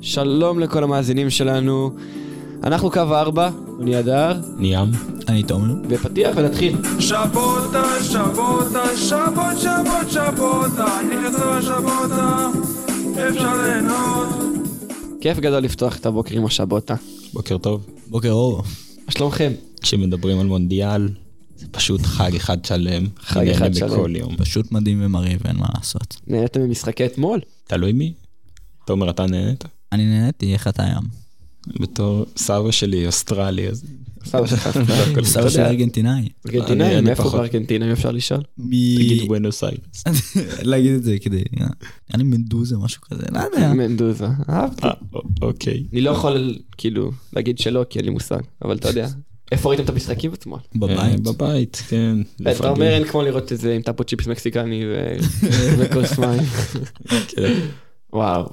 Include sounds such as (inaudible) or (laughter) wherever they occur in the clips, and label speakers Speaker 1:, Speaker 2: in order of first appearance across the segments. Speaker 1: שלום לכל המאזינים שלנו. אנחנו קו 4, אני הדר,
Speaker 2: ניאם.
Speaker 3: אני תומר.
Speaker 1: בפתיח ונתחיל.
Speaker 4: Шабота, шабота, שבות, שבות, שבות, נכנסו השבותה, אפשר ליהנות.
Speaker 1: כיף גדול לפתוח את הבוקר עם השבוטה.
Speaker 2: בוקר טוב.
Speaker 3: בוקר אור.
Speaker 1: מה שלומכם?
Speaker 2: כשמדברים על מונדיאל, זה פשוט חג אחד שלם.
Speaker 1: חג
Speaker 2: אני
Speaker 1: אחד
Speaker 2: נהנה
Speaker 1: שלם.
Speaker 2: בכל יום.
Speaker 3: פשוט מדהים ומרהיב, אין מה לעשות.
Speaker 1: נהנתם ממשחקי אתמול?
Speaker 2: תלוי מי. תומר, אתה נהנית?
Speaker 3: אני נהניתי, איך אתה ים?
Speaker 2: בתור סבא שלי אוסטרלי, אז...
Speaker 1: כן, סבא שלך.
Speaker 2: (laughs) הכל
Speaker 3: סבא
Speaker 2: בסדר.
Speaker 3: שלי ארגנטינאי.
Speaker 2: אני-
Speaker 1: ארגנטינאים,
Speaker 2: אני
Speaker 1: מאיפה
Speaker 2: פחות.
Speaker 1: בארגנטינה אם אפשר לשאול?
Speaker 3: מ...
Speaker 2: תגיד בואנוס איירס.
Speaker 3: (laughs) להגיד את זה כדי... היה לי מדוזה, משהו כזה, לא יודע.
Speaker 1: מנדוזה, אהבתי.
Speaker 2: אה, א- אוקיי.
Speaker 1: אני לא יכול כאילו להגיד שלא כי אין לי מושג, אבל אתה
Speaker 2: (laughs)
Speaker 1: יודע. איפה ראיתם את המשחקים אתמול?
Speaker 2: אה,
Speaker 3: בבית.
Speaker 2: בבית, כן.
Speaker 1: אתה אומר אין כמו לראות את זה עם טאפו צ'יפס מקסיקני
Speaker 3: (laughs)
Speaker 1: ו- וכוס מים.
Speaker 2: כן.
Speaker 1: וואו,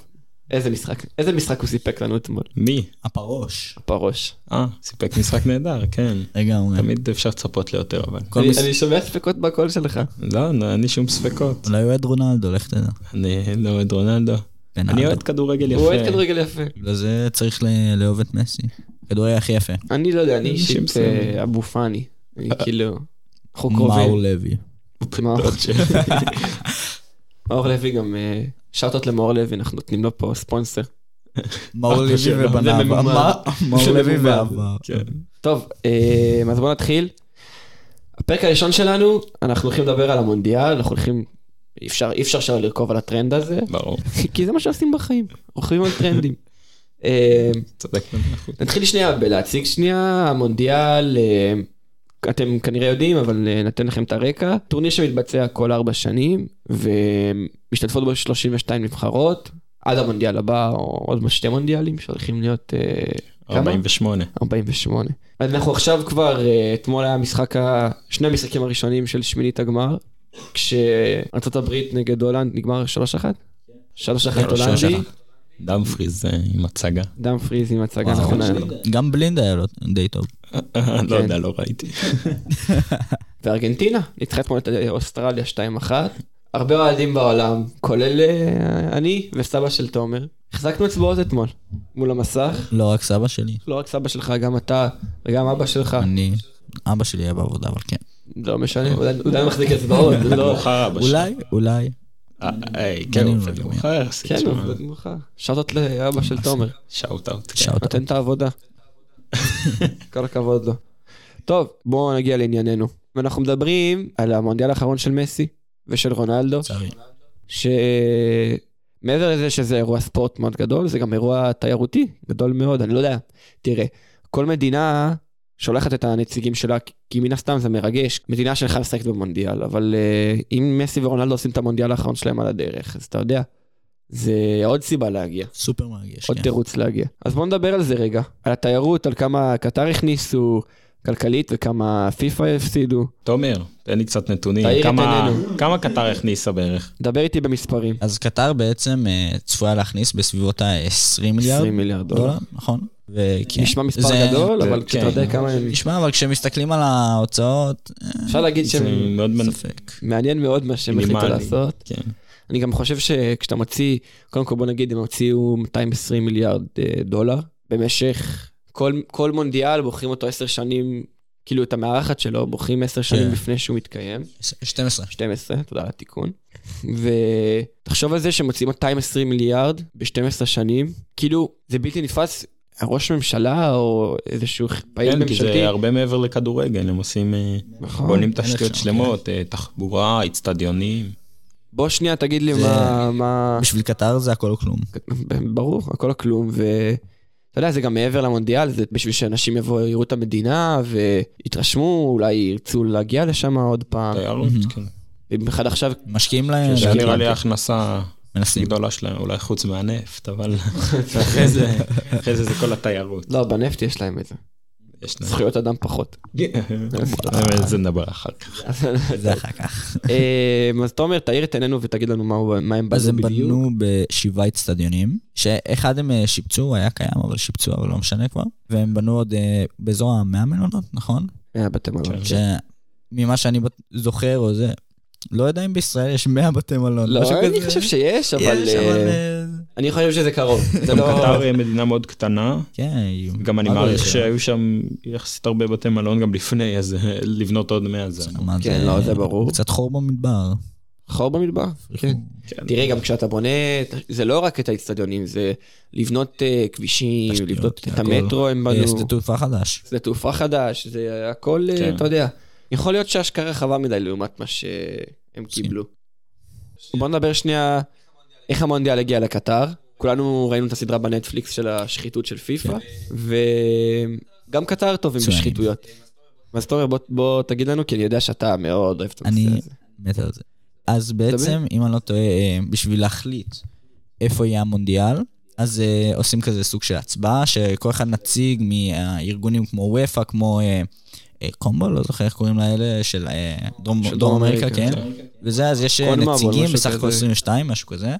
Speaker 1: איזה משחק, איזה משחק הוא סיפק לנו אתמול,
Speaker 2: מי?
Speaker 3: הפרוש.
Speaker 1: פרוש.
Speaker 2: אה, סיפק משחק נהדר, כן.
Speaker 3: לגמרי.
Speaker 2: תמיד אפשר לצפות ליותר, אבל...
Speaker 3: כל
Speaker 1: אני-
Speaker 3: מס-
Speaker 1: אני שומע ספקות בקול שלך.
Speaker 2: לא, לא, אין לי שום ספקות.
Speaker 3: אולי הוא אוהד רונלדו, לך תדע.
Speaker 2: אני לא אוהד רונלדו. אני
Speaker 3: רונלדו.
Speaker 2: אוהד כדורגל יפה.
Speaker 1: הוא אוהד כדורגל יפה.
Speaker 3: בגלל זה צריך ל- לאהוב את מסי. כדורגל הכי יפה.
Speaker 1: אני לא יודע, אני אישית
Speaker 2: אנשים מסוימים.
Speaker 1: אה, אבו פאני. אני כאילו, אנחנו
Speaker 3: אה, מאור
Speaker 1: קרובים.
Speaker 3: לוי.
Speaker 1: מאור-
Speaker 2: דוד שלי.
Speaker 1: מאור לוי גם, אה, שאוטות למאור לוי, אנחנו נותנים לו פה ספונסר.
Speaker 3: מאור
Speaker 2: לוי
Speaker 3: לוי
Speaker 1: ובניו.
Speaker 3: ובניו. מאור
Speaker 1: זה
Speaker 3: לוי
Speaker 1: ממומן.
Speaker 3: ואבא.
Speaker 2: (laughs) כן.
Speaker 1: טוב, אה, אז בואו נתחיל. הפרק הראשון שלנו, אנחנו הולכים לדבר על המונדיאל, אנחנו הולכים, אי אפשר- אי אפשר שלא לרכוב על הטרנד הזה,
Speaker 2: ברור.
Speaker 1: (laughs) כי זה מה שעושים בחיים, רוכבים על טרנדים. אה,
Speaker 2: צודק במאה אחוז.
Speaker 1: נתחיל שנייה בלהציג שנייה, המונדיאל, אה, אתם כנראה יודעים, אבל אה, נתן לכם את הרקע. טורניר שמתבצע כל ארבע שנים, ומשתתפות בו 32 נבחרות, עד המונדיאל הבא, או עוד שתי מונדיאלים שהולכים להיות אה, כמה?
Speaker 2: 48.
Speaker 1: 48. אז אנחנו עכשיו כבר, אה, אתמול היה משחק, ה- שני המשחקים הראשונים של שמינית הגמר, כשארצות הברית נגד הולנד נגמר 3-1? 3-1
Speaker 3: כן,
Speaker 1: הולנדי,
Speaker 3: 3-1.
Speaker 2: דאמפריז אה, עם הצגה.
Speaker 1: דם פריז עם הצגה
Speaker 3: וואו,
Speaker 1: נכונה.
Speaker 3: גם בלינד היה לו די טוב.
Speaker 2: לא יודע, לא ראיתי.
Speaker 1: וארגנטינה ניצחה אתמול את אה, אוסטרליה 2-1. הרבה אוהדים בעולם, כולל אה, אני וסבא של תומר. החזקנו אצבעות אתמול, מול המסך.
Speaker 3: לא רק סבא שלי.
Speaker 1: לא רק סבא שלך, גם אתה וגם אבא
Speaker 2: אה.
Speaker 1: שלך.
Speaker 3: אני... אבא שלי היה בעבודה, אבל כן.
Speaker 1: לא משנה, הוא עדיין- הוא עדיין מחזיק
Speaker 3: (laughs)
Speaker 1: אצבעות, זה לא...
Speaker 2: מאוחר אבא שלי.
Speaker 3: אולי, אולי.
Speaker 2: אה, אה, כן,
Speaker 3: אני
Speaker 2: הוא
Speaker 3: לא
Speaker 2: עובד
Speaker 3: יודע.
Speaker 2: מאוחר יחסית.
Speaker 1: כן,
Speaker 2: שמע,
Speaker 1: הוא עובד מאוחר. שאלות לאבא של תומר,
Speaker 2: שאוט אאוט. כן.
Speaker 3: שאוט
Speaker 1: נותן את העבודה. כל הכבוד לו. טוב, בואו נגיע לענייננו. אנחנו מדברים על המונדיאל האחרון של מסי ושל רונלדו.
Speaker 3: לצערי.
Speaker 1: שמעבר לזה שזה אירוע ספורט מאוד גדול, זה גם אירוע תיירותי גדול מאוד, אני לא יודע. תראה, כל מדינה שולחת את הנציגים שלה, כי מן הסתם זה מרגש, מדינה שלך משחקת במונדיאל, אבל אה, אם מסי ורונלדו עושים את המונדיאל האחרון שלהם על הדרך, אז אתה יודע, זה עוד סיבה להגיע.
Speaker 3: סופר מרגש.
Speaker 1: עוד
Speaker 3: כן.
Speaker 1: תירוץ להגיע. אז בואו נדבר על זה רגע, על התיירות, על כמה קטר הכניסו כלכלית וכמה פיפ"א הפסידו.
Speaker 2: תומר, תן לי קצת נתונים.
Speaker 1: תאיר את
Speaker 2: כמה-
Speaker 1: עינינו.
Speaker 2: כמה קטר הכניסה בערך?
Speaker 1: דבר איתי במספרים.
Speaker 3: אז קטר בעצם אה, צפויה להכניס בסביבות ה-20 מיליארד
Speaker 1: 20 מיליארד דולר.
Speaker 3: דולר, נכון? וכן,
Speaker 1: נשמע מספר
Speaker 3: זה-
Speaker 1: גדול,
Speaker 2: זה-
Speaker 1: אבל כשאתה
Speaker 2: כן.
Speaker 1: יודע כמה הם...
Speaker 3: נשמע, אבל כשמסתכלים על ההוצאות, אה,
Speaker 1: אפשר להגיד
Speaker 2: זה
Speaker 1: שהם...
Speaker 2: מאוד מנפ...
Speaker 3: ספק.
Speaker 1: מעניין מאוד מה שהם החליטו
Speaker 2: מינימלי.
Speaker 1: לעשות.
Speaker 2: כן.
Speaker 1: אני גם חושב שכשאתה מוציא, קודם כל בוא נגיד, הם הוציאו 220 מיליארד אה, דולר. במשך כל, כל מונדיאל בוחרים אותו 10 שנים, כאילו את המארחת שלו, בוחרים 10 שנים
Speaker 3: כן.
Speaker 1: לפני שהוא מתקיים.
Speaker 3: 12.
Speaker 1: 12, תודה על התיקון. ותחשוב על זה שמוציאים 220 מיליארד ב-12 שנים, כאילו, זה בלתי נתפס, ראש ממשלה או איזשהו פעיל
Speaker 2: כן, כי
Speaker 1: ממשלתי.
Speaker 2: זה הרבה מעבר לכדורגל, הם עושים... אה,
Speaker 1: נכון.
Speaker 2: בונים
Speaker 3: אין
Speaker 2: תשתיות
Speaker 3: אפשר,
Speaker 1: כן.
Speaker 2: שלמות, אה, תחבורה, אצטדיונים.
Speaker 1: אה. בוא שנייה תגיד לי
Speaker 3: זה-
Speaker 1: מה... מה...
Speaker 3: בשביל קטר זה הכל או כלום.
Speaker 1: כן. ברור, הכל הכלום, ו... אתה יודע, זה גם מעבר למונדיאל, זה בשביל שאנשים יבואו, יראו את המדינה ויתרשמו, אולי ירצו להגיע לשם עוד פעם.
Speaker 2: תיירות,
Speaker 3: Mhm.
Speaker 2: כן.
Speaker 1: במיוחד עכשיו,
Speaker 3: משקיעים להם,
Speaker 2: זה
Speaker 3: להקים-
Speaker 2: נראה לי ההכנסה הכי
Speaker 3: מנסים.
Speaker 2: גדולה שלהם, אולי חוץ
Speaker 1: (laughs)
Speaker 2: מהנפט, אבל אחרי זה, אחרי זה זה כל התיירות.
Speaker 1: לא, בנפט יש להם את זה.
Speaker 2: יש להם.
Speaker 1: זכויות אדם פחות.
Speaker 2: כן. אבל על זה נדבר אחר כך.
Speaker 3: זה אחר כך.
Speaker 1: אמ, אז תומר, תאיר את עינינו ותגיד לנו מה הוא- מה הם
Speaker 3: אז
Speaker 1: בנו
Speaker 3: הם
Speaker 1: בדיוק.
Speaker 3: בנו בשבעה אצטדיונים, שאחד הם אה, שיפצו, הוא היה קיים, אבל שיפצו, אבל לא משנה כבר. והם בנו עוד אה, באזור המאה מלונות, נכון?
Speaker 1: אה, בתי מלון.
Speaker 2: כן.
Speaker 3: שממה שאני בת- זוכר או זה, לא יודע אם בישראל יש 100 בתי מלון.
Speaker 1: לא,
Speaker 3: משהו
Speaker 1: אני
Speaker 3: כזה.
Speaker 1: חושב שיש, אבל...
Speaker 3: יש, אבל...
Speaker 1: אה,
Speaker 3: אה,
Speaker 1: אני חושב שזה
Speaker 3: (laughs)
Speaker 1: קרוב. זה
Speaker 2: גם
Speaker 1: לא...
Speaker 2: קטר היא מדינה מאוד קטנה,
Speaker 3: כן, יהיו.
Speaker 2: גם אני
Speaker 3: אבל
Speaker 2: מעריך
Speaker 3: יש-
Speaker 2: שהיו שם יחסית הרבה בתי מלון גם לפני, אז אה, לבנות עוד 100 זה...
Speaker 3: אמרת,
Speaker 1: כן, לא, זה ברור.
Speaker 3: קצת חור במדבר. אה,
Speaker 1: חור במדבר? כן.
Speaker 2: כן.
Speaker 1: תראה, גם כשאתה בונה, זה לא רק את האיצטדיונים, זה לבנות אה, כבישים,
Speaker 3: תשתיות,
Speaker 1: לבנות את
Speaker 3: הכל. אה,
Speaker 1: המטרו, הם
Speaker 3: יש
Speaker 1: בנו,
Speaker 3: שדה תעופה חדש.
Speaker 1: שדה תעופה חדש, זה הכל, אה,
Speaker 2: כן.
Speaker 1: אתה יודע. יכול להיות שההשקעה רחבה מדי לעומת מה שהם
Speaker 3: כן.
Speaker 1: קיבלו. בוא נדבר שנייה, איך המונדיאל הגיע לקטר. כולנו ראינו את הסדרה בנטפליקס של השחיתות של פיפ"א,
Speaker 3: כן.
Speaker 1: וגם קטר טובים
Speaker 3: מצוינים.
Speaker 1: בשחיתויות. אז תומר, בוא- בוא תגיד לנו, כי אני יודע שאתה מאוד אוהב את הנושא
Speaker 3: אני
Speaker 1: הזה.
Speaker 3: מת על זה. אז בעצם, אם אני לא טועה, אה, בשביל להחליט איפה יהיה המונדיאל, אז אה, עושים כזה סוג של הצבעה, שכל אחד נציג מהארגונים כמו וופא, כמו אה, אה, קומבו, לא זוכר איך קוראים לאלה, של אה, דרום
Speaker 1: של
Speaker 3: דרום אמריקה, כן.
Speaker 2: כן.
Speaker 3: וזה, אז יש אה,
Speaker 1: קונמבול,
Speaker 3: נציגים,
Speaker 1: משהו
Speaker 3: בסך הכל
Speaker 1: כזה.
Speaker 3: 22, משהו כזה.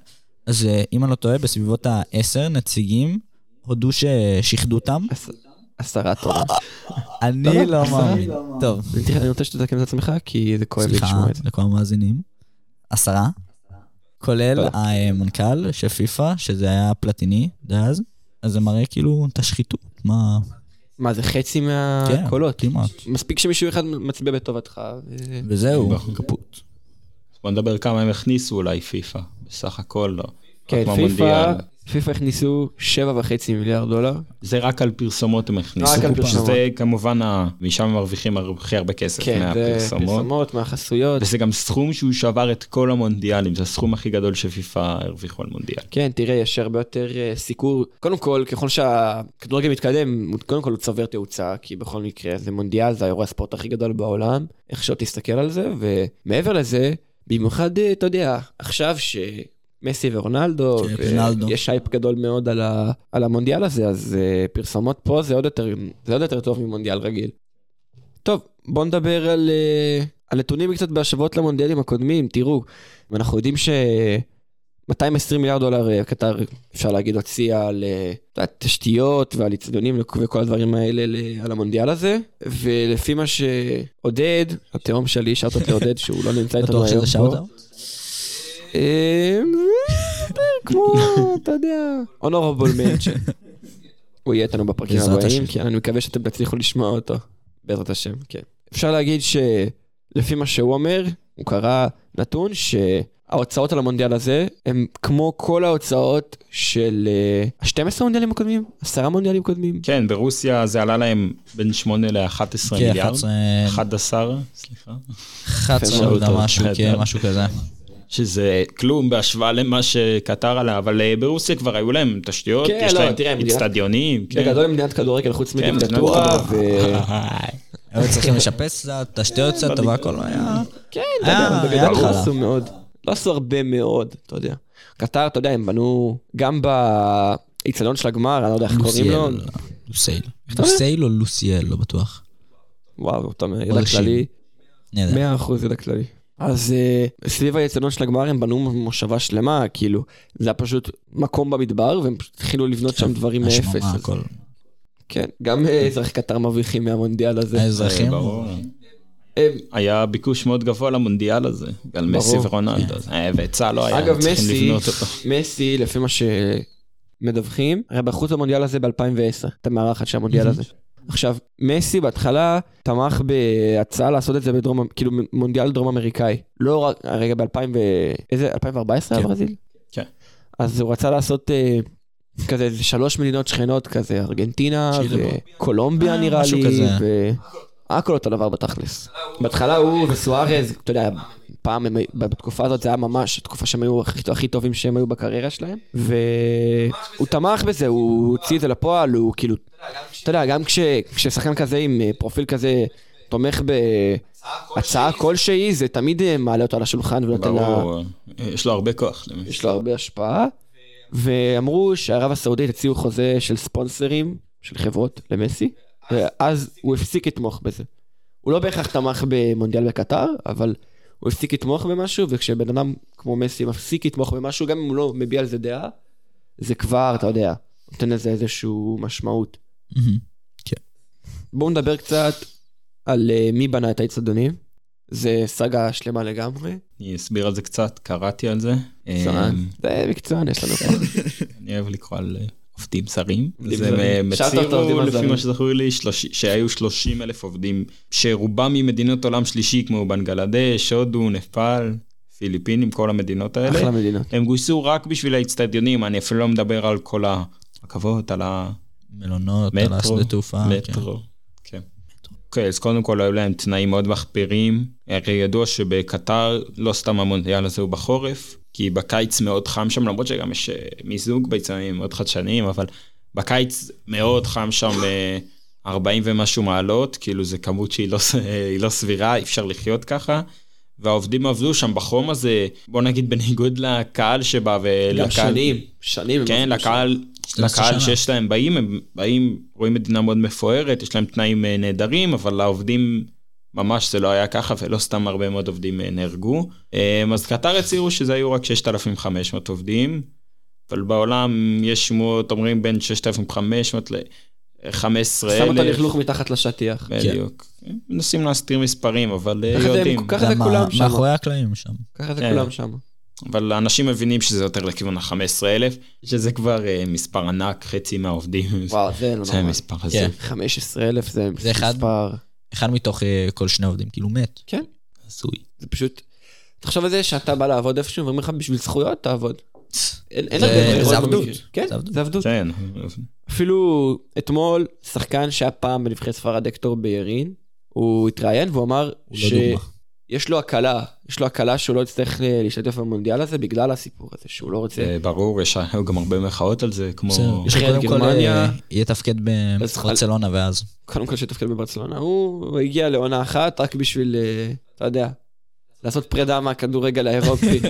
Speaker 3: אז אה, אם אני לא טועה, בסביבות ה-10 נציגים הודו ששיחדו (laughs) אותם.
Speaker 1: עשרה תומר.
Speaker 3: אני לא מאמין. טוב,
Speaker 1: תראה, אני רוצה שתתקן את עצמך, כי זה כואב לי
Speaker 3: סליחה
Speaker 1: לשמוע את זה.
Speaker 3: לכל המאזינים. עשרה. כולל
Speaker 1: תודה.
Speaker 3: המנכ"ל של פיפ"א, שזה היה פלטיני דאז. אז זה מראה כאילו את השחיתות, מה...
Speaker 1: מה, זה חצי
Speaker 3: כן,
Speaker 1: מהקולות?
Speaker 3: כמעט.
Speaker 1: מספיק שמישהו אחד מצביע בטובתך. ו-
Speaker 3: וזהו,
Speaker 2: נכון.
Speaker 3: קפוט.
Speaker 2: בוא נדבר כמה הם הכניסו אולי פיפא, בסך הכל לא. רק
Speaker 1: כן, פיפא,
Speaker 2: מהמונדיאל.
Speaker 1: פיפא הכניסו 7.5 מיליארד דולר.
Speaker 2: זה רק על פרסומות הם הכניסו.
Speaker 1: רק על פרסומות.
Speaker 2: שזה כמובן, ה- משם הם מרוויחים הכי הרבה כסף
Speaker 1: כן, זה
Speaker 2: מהפרסומות.
Speaker 1: פרסומות, מהחסויות.
Speaker 2: וזה גם סכום שהוא שבר את כל המונדיאלים, זה הסכום הכי גדול שפיפ"א הרוויחו על מונדיאל.
Speaker 1: כן, תראה, יש הרבה יותר אה, סיקור. קודם כל, ככל שהכדורגל מתקדם, הוא- קודם כל הוא צובר תאוצה, כי בכל מקרה זה מונדיאל, זה האירוע הספורט הכי גדול בעולם, איך שלא תסתכל על זה, ומעבר לזה, במיוחד, אה, אתה יודע, עכשיו שמסי ורונלדו,
Speaker 3: כן,
Speaker 1: ו-
Speaker 3: רונלדו.
Speaker 1: יש הייפ גדול מאוד על, ה... על המונדיאל הזה, אז אה, פרסומות פה זה עוד יותר, זה עוד יותר טוב ממונדיאל רגיל. טוב, בואו נדבר על, אה, על נתונים קצת בהשוואות למונדיאלים הקודמים. תראו, אנחנו יודעים ש... 220 מיליארד דולר אה, קטר, אפשר להגיד, הוציאה על אה, אתה יודע, תשתיות ועל אצטדיונים וכ- וכל הדברים האלה ל- על המונדיאל הזה. ולפי מה שעודד, התהום שלי, שאוטות לעודד, שהוא לא נמצא איתנו
Speaker 3: בטוח
Speaker 1: היום
Speaker 3: שזה שאוט
Speaker 1: פה. אה, זה כמו, אתה יודע, honorable mention. הוא יהיה איתנו בפרקים
Speaker 3: בעזרת
Speaker 1: הבאים,
Speaker 3: השם.
Speaker 1: כן, אני מקווה שאתם תצליחו לשמוע אותו. בעזרת השם, כן. אפשר להגיד שלפי מה שהוא אומר, הוא קרא נתון שההוצאות על המונדיאל הזה הם כמו כל ההוצאות של אה, 12 מונדיאלים הקודמים, 10 מונדיאלים קודמים.
Speaker 2: כן, ברוסיה זה עלה להם בין 8 ל-11
Speaker 3: כן,
Speaker 2: מיליארד.
Speaker 3: 11
Speaker 2: 11, סליחה.
Speaker 3: 11
Speaker 2: מאוד
Speaker 3: עוד
Speaker 2: טוב.
Speaker 1: (laughs)
Speaker 3: משהו, כן,
Speaker 2: בסדר.
Speaker 3: משהו כזה.
Speaker 2: שזה כלום בהשוואה למה שקטר עלה, אבל אה, ברוסיה כבר היו להם תשתיות,
Speaker 1: כן,
Speaker 2: יש
Speaker 1: לא,
Speaker 2: להם
Speaker 1: תראה, מדינת-
Speaker 2: אצטדיונים. כן.
Speaker 1: בגדול מדינת כדורגל חוץ
Speaker 2: כן, מדינת
Speaker 1: מדיקטטורה, ו...
Speaker 2: כדורגל.
Speaker 1: אה.
Speaker 3: היו צריכים לשפץ קצת, תשתיות קצת, אבל הכל היה...
Speaker 1: כן, אתה יודע,
Speaker 3: אה,
Speaker 1: בגדול
Speaker 3: היה
Speaker 1: לא
Speaker 3: התחלה.
Speaker 1: עשו מאוד. לא עשו הרבה מאוד, אתה יודע. קטר, אתה יודע, הם בנו גם באיצטדיון של הגמר, אני לא יודע איך קוראים לו. אה?
Speaker 3: לוסיאל. לוסייל. לוסייל או לוסיאל, לא בטוח.
Speaker 1: וואו, אתה אומר, ידע
Speaker 3: מרשים.
Speaker 1: כללי.
Speaker 3: אני יודע.
Speaker 1: 100% ידע כללי. אז uh, סביב היצדון של הגמר הם בנו מושבה שלמה, כאילו, זה היה פשוט מקום במדבר, והם פשוט התחילו לבנות שם דברים מאפס.
Speaker 3: השממה,
Speaker 1: אז-
Speaker 3: הכל.
Speaker 1: כן, גם אה, אזרחי קטר מרוויחים מהמונדיאל הזה.
Speaker 3: האזרחים,
Speaker 1: אה,
Speaker 2: ברור.
Speaker 1: הם-
Speaker 2: היה ביקוש מאוד גבוה למונדיאל הזה, על
Speaker 1: ברור. כן.
Speaker 2: מסי ורונלדו, אה, והיצע לא היה,
Speaker 1: אגב,
Speaker 2: צריכים
Speaker 1: מסי,
Speaker 2: לבנות אותו.
Speaker 1: מסי, לפי מה שמדווחים, הרי בחוץ במונדיאל הזה ב-2010, את המארחת של המונדיאל
Speaker 2: Mhm.
Speaker 1: הזה. עכשיו, מסי בהתחלה תמך בהצעה לעשות את זה בדרום, כאילו מונדיאל דרום אמריקאי. לא רק, הרגע ב-2000 ו... איזה? 2014
Speaker 3: כן.
Speaker 1: הברזיל?
Speaker 2: כן.
Speaker 1: אז הוא רצה לעשות אה, כזה איזה שלוש מדינות שכנות כזה, ארגנטינה
Speaker 3: צ'ילה.
Speaker 1: וקולומביה
Speaker 3: אה,
Speaker 1: נראה
Speaker 3: משהו
Speaker 1: לי,
Speaker 3: כזה.
Speaker 1: ו... הכל אותו דבר בתכלס. בהתחלה הוא וסוארז, אתה יודע, פעם, הם, בתקופה הזאת זה היה ממש התקופה שהם היו הכי, הכי טובים שהם היו בקריירה שלהם, והוא תמך בזה, הוא הוציא את זה לפועל, הוא כאילו, אתה יודע, גם כש, כששחקן כזה עם אה, פרופיל כזה תומך בהצעה כלשהי, זה תמיד אה, מעלה אותו על השולחן ונותן לה...
Speaker 2: ברור, אה, יש לו הרבה כוח. למי.
Speaker 1: יש לו הרבה השפעה. ואמרו שערב הסעודית הציעו חוזה של ספונסרים, של חברות למסי, ואז הוא הפסיק לתמוך בזה. הוא לא בהכרח תמך במונדיאל בקטר, אבל הוא הפסיק לתמוך במשהו, וכשבן אדם כמו מסי מפסיק לתמוך במשהו, גם אם הוא לא מביע על זה דעה, זה כבר, אתה יודע, נותן לזה איזושהי משמעות.
Speaker 3: מהמם.
Speaker 1: בואו נדבר קצת על אה, מי בנה את האצטדיונים. זה סאגה שלמה לגמרי.
Speaker 2: אני אסביר על זה קצת, קראתי על זה.
Speaker 1: מקצוען.
Speaker 2: אה,
Speaker 1: זה מקצוען יש לנו פה.
Speaker 2: אני אוהב לקרוא על אה, עובדים זרים.
Speaker 1: עובדים
Speaker 2: אז
Speaker 1: זרים.
Speaker 2: הם
Speaker 1: שאלת אותם
Speaker 2: הצהירו,
Speaker 1: עובדים
Speaker 2: לפי
Speaker 1: הזרים.
Speaker 2: מה שזכור לי, שלוש- שהיו 30 אלף עובדים, שרובם ממדינות עולם שלישי, כמו בנגלדש, הודו, נפאל, פיליפינים, כל המדינות האלה.
Speaker 1: אחלה מדינה.
Speaker 2: הם גויסו רק בשביל האצטדיונים, אני אפילו לא מדבר על כל הרכבות, על המטרו.
Speaker 3: מלונות, על השדה תעופה.
Speaker 2: מטרו, כן. אוקיי, אז קודם כל היו להם תנאים מאוד מחפירים. הרי ידוע שבקטר לא סתם המונדיאל הזה הוא בחורף, כי בקיץ מאוד חם שם, למרות שגם יש אה, מיזוג בעיצומים מאוד חדשניים, אבל בקיץ מאוד חם שם אה, 40 ומשהו מעלות, כאילו זו כמות שהיא לא, ס- היא לא סבירה, אי אפשר לחיות ככה. והעובדים עבדו שם בחום הזה, בוא נגיד בניגוד לקהל שבא ולקהל...
Speaker 1: גם שנים, שנים. הם
Speaker 2: כן,
Speaker 1: עבדו
Speaker 2: לקהל, לקהל
Speaker 3: שנה.
Speaker 2: שיש להם באים, הם באים, רואים מדינה מאוד מפוארת, יש להם תנאים אה, נהדרים, אבל לעובדים ממש זה לא היה ככה, ולא סתם הרבה מאוד עובדים אה, נהרגו. אה, אז קטר הצהירו שזה היו רק 6,500 עובדים, אבל בעולם יש שמועות, אומרים בין 6,500
Speaker 1: שם. שם את
Speaker 2: ל-15,000.
Speaker 1: הלכלוך מתחת לשטיח.
Speaker 2: בדיוק. כן, מנסים להסתיר מספרים, אבל אה,
Speaker 1: ככה זה-
Speaker 2: יודעים.
Speaker 1: ככה זה
Speaker 3: למה-
Speaker 1: כולם שם.
Speaker 3: כן. מאחורי אה. הקלעים שם.
Speaker 1: ככה זה
Speaker 2: כן.
Speaker 1: כולם שם.
Speaker 2: אבל אנשים מבינים שזה יותר לכיוון ה-15,000, שזה כבר אה, מספר ענק, חצי מהעובדים.
Speaker 1: וואו, זה לא
Speaker 2: זה
Speaker 1: נורא.
Speaker 2: המספר הזה.
Speaker 3: כן.
Speaker 1: 15,000 זה
Speaker 3: זה אחד?
Speaker 1: מספר.
Speaker 3: אחד מתוך אה, כל שני עובדים, כאילו מת.
Speaker 1: כן.
Speaker 3: הזוי.
Speaker 1: זה פשוט... תחשוב על זה שאתה בא לעבוד איפשהו ואומרים לך בשביל זכויות תעבוד. אין אין
Speaker 3: זה-
Speaker 1: הרבה
Speaker 3: זה
Speaker 1: ברירות
Speaker 3: עבדות.
Speaker 1: במקרה. כן,
Speaker 3: זה עבדות.
Speaker 1: זה עבדות.
Speaker 2: כן,
Speaker 1: אפילו אתמול, שחקן שהיה פעם בנבחרת ספרד דקטור בירין, הוא התראיין והוא אמר
Speaker 3: הוא לא דוגמה.
Speaker 1: שיש לו הקלה, יש לו הקלה שהוא לא יצטרך אה, להשתתף במונדיאל הזה בגלל הסיפור הזה, שהוא לא רוצה...
Speaker 2: זה ברור, יש היו גם הרבה מחאות על זה, כמו... כן, כאילו,
Speaker 3: בסדר. יש לו
Speaker 1: אחרי
Speaker 3: קודם כל
Speaker 1: גרמניה- אה,
Speaker 3: אה, יתפקד
Speaker 1: אז-
Speaker 3: בברצלונה ואז.
Speaker 1: קודם כל שתפקד בברצלונה, הוא הוא הגיע לעונה אחת רק בשביל, אה, אתה יודע, לעשות פרידה מהכדורגל
Speaker 3: (laughs)
Speaker 1: האירופי,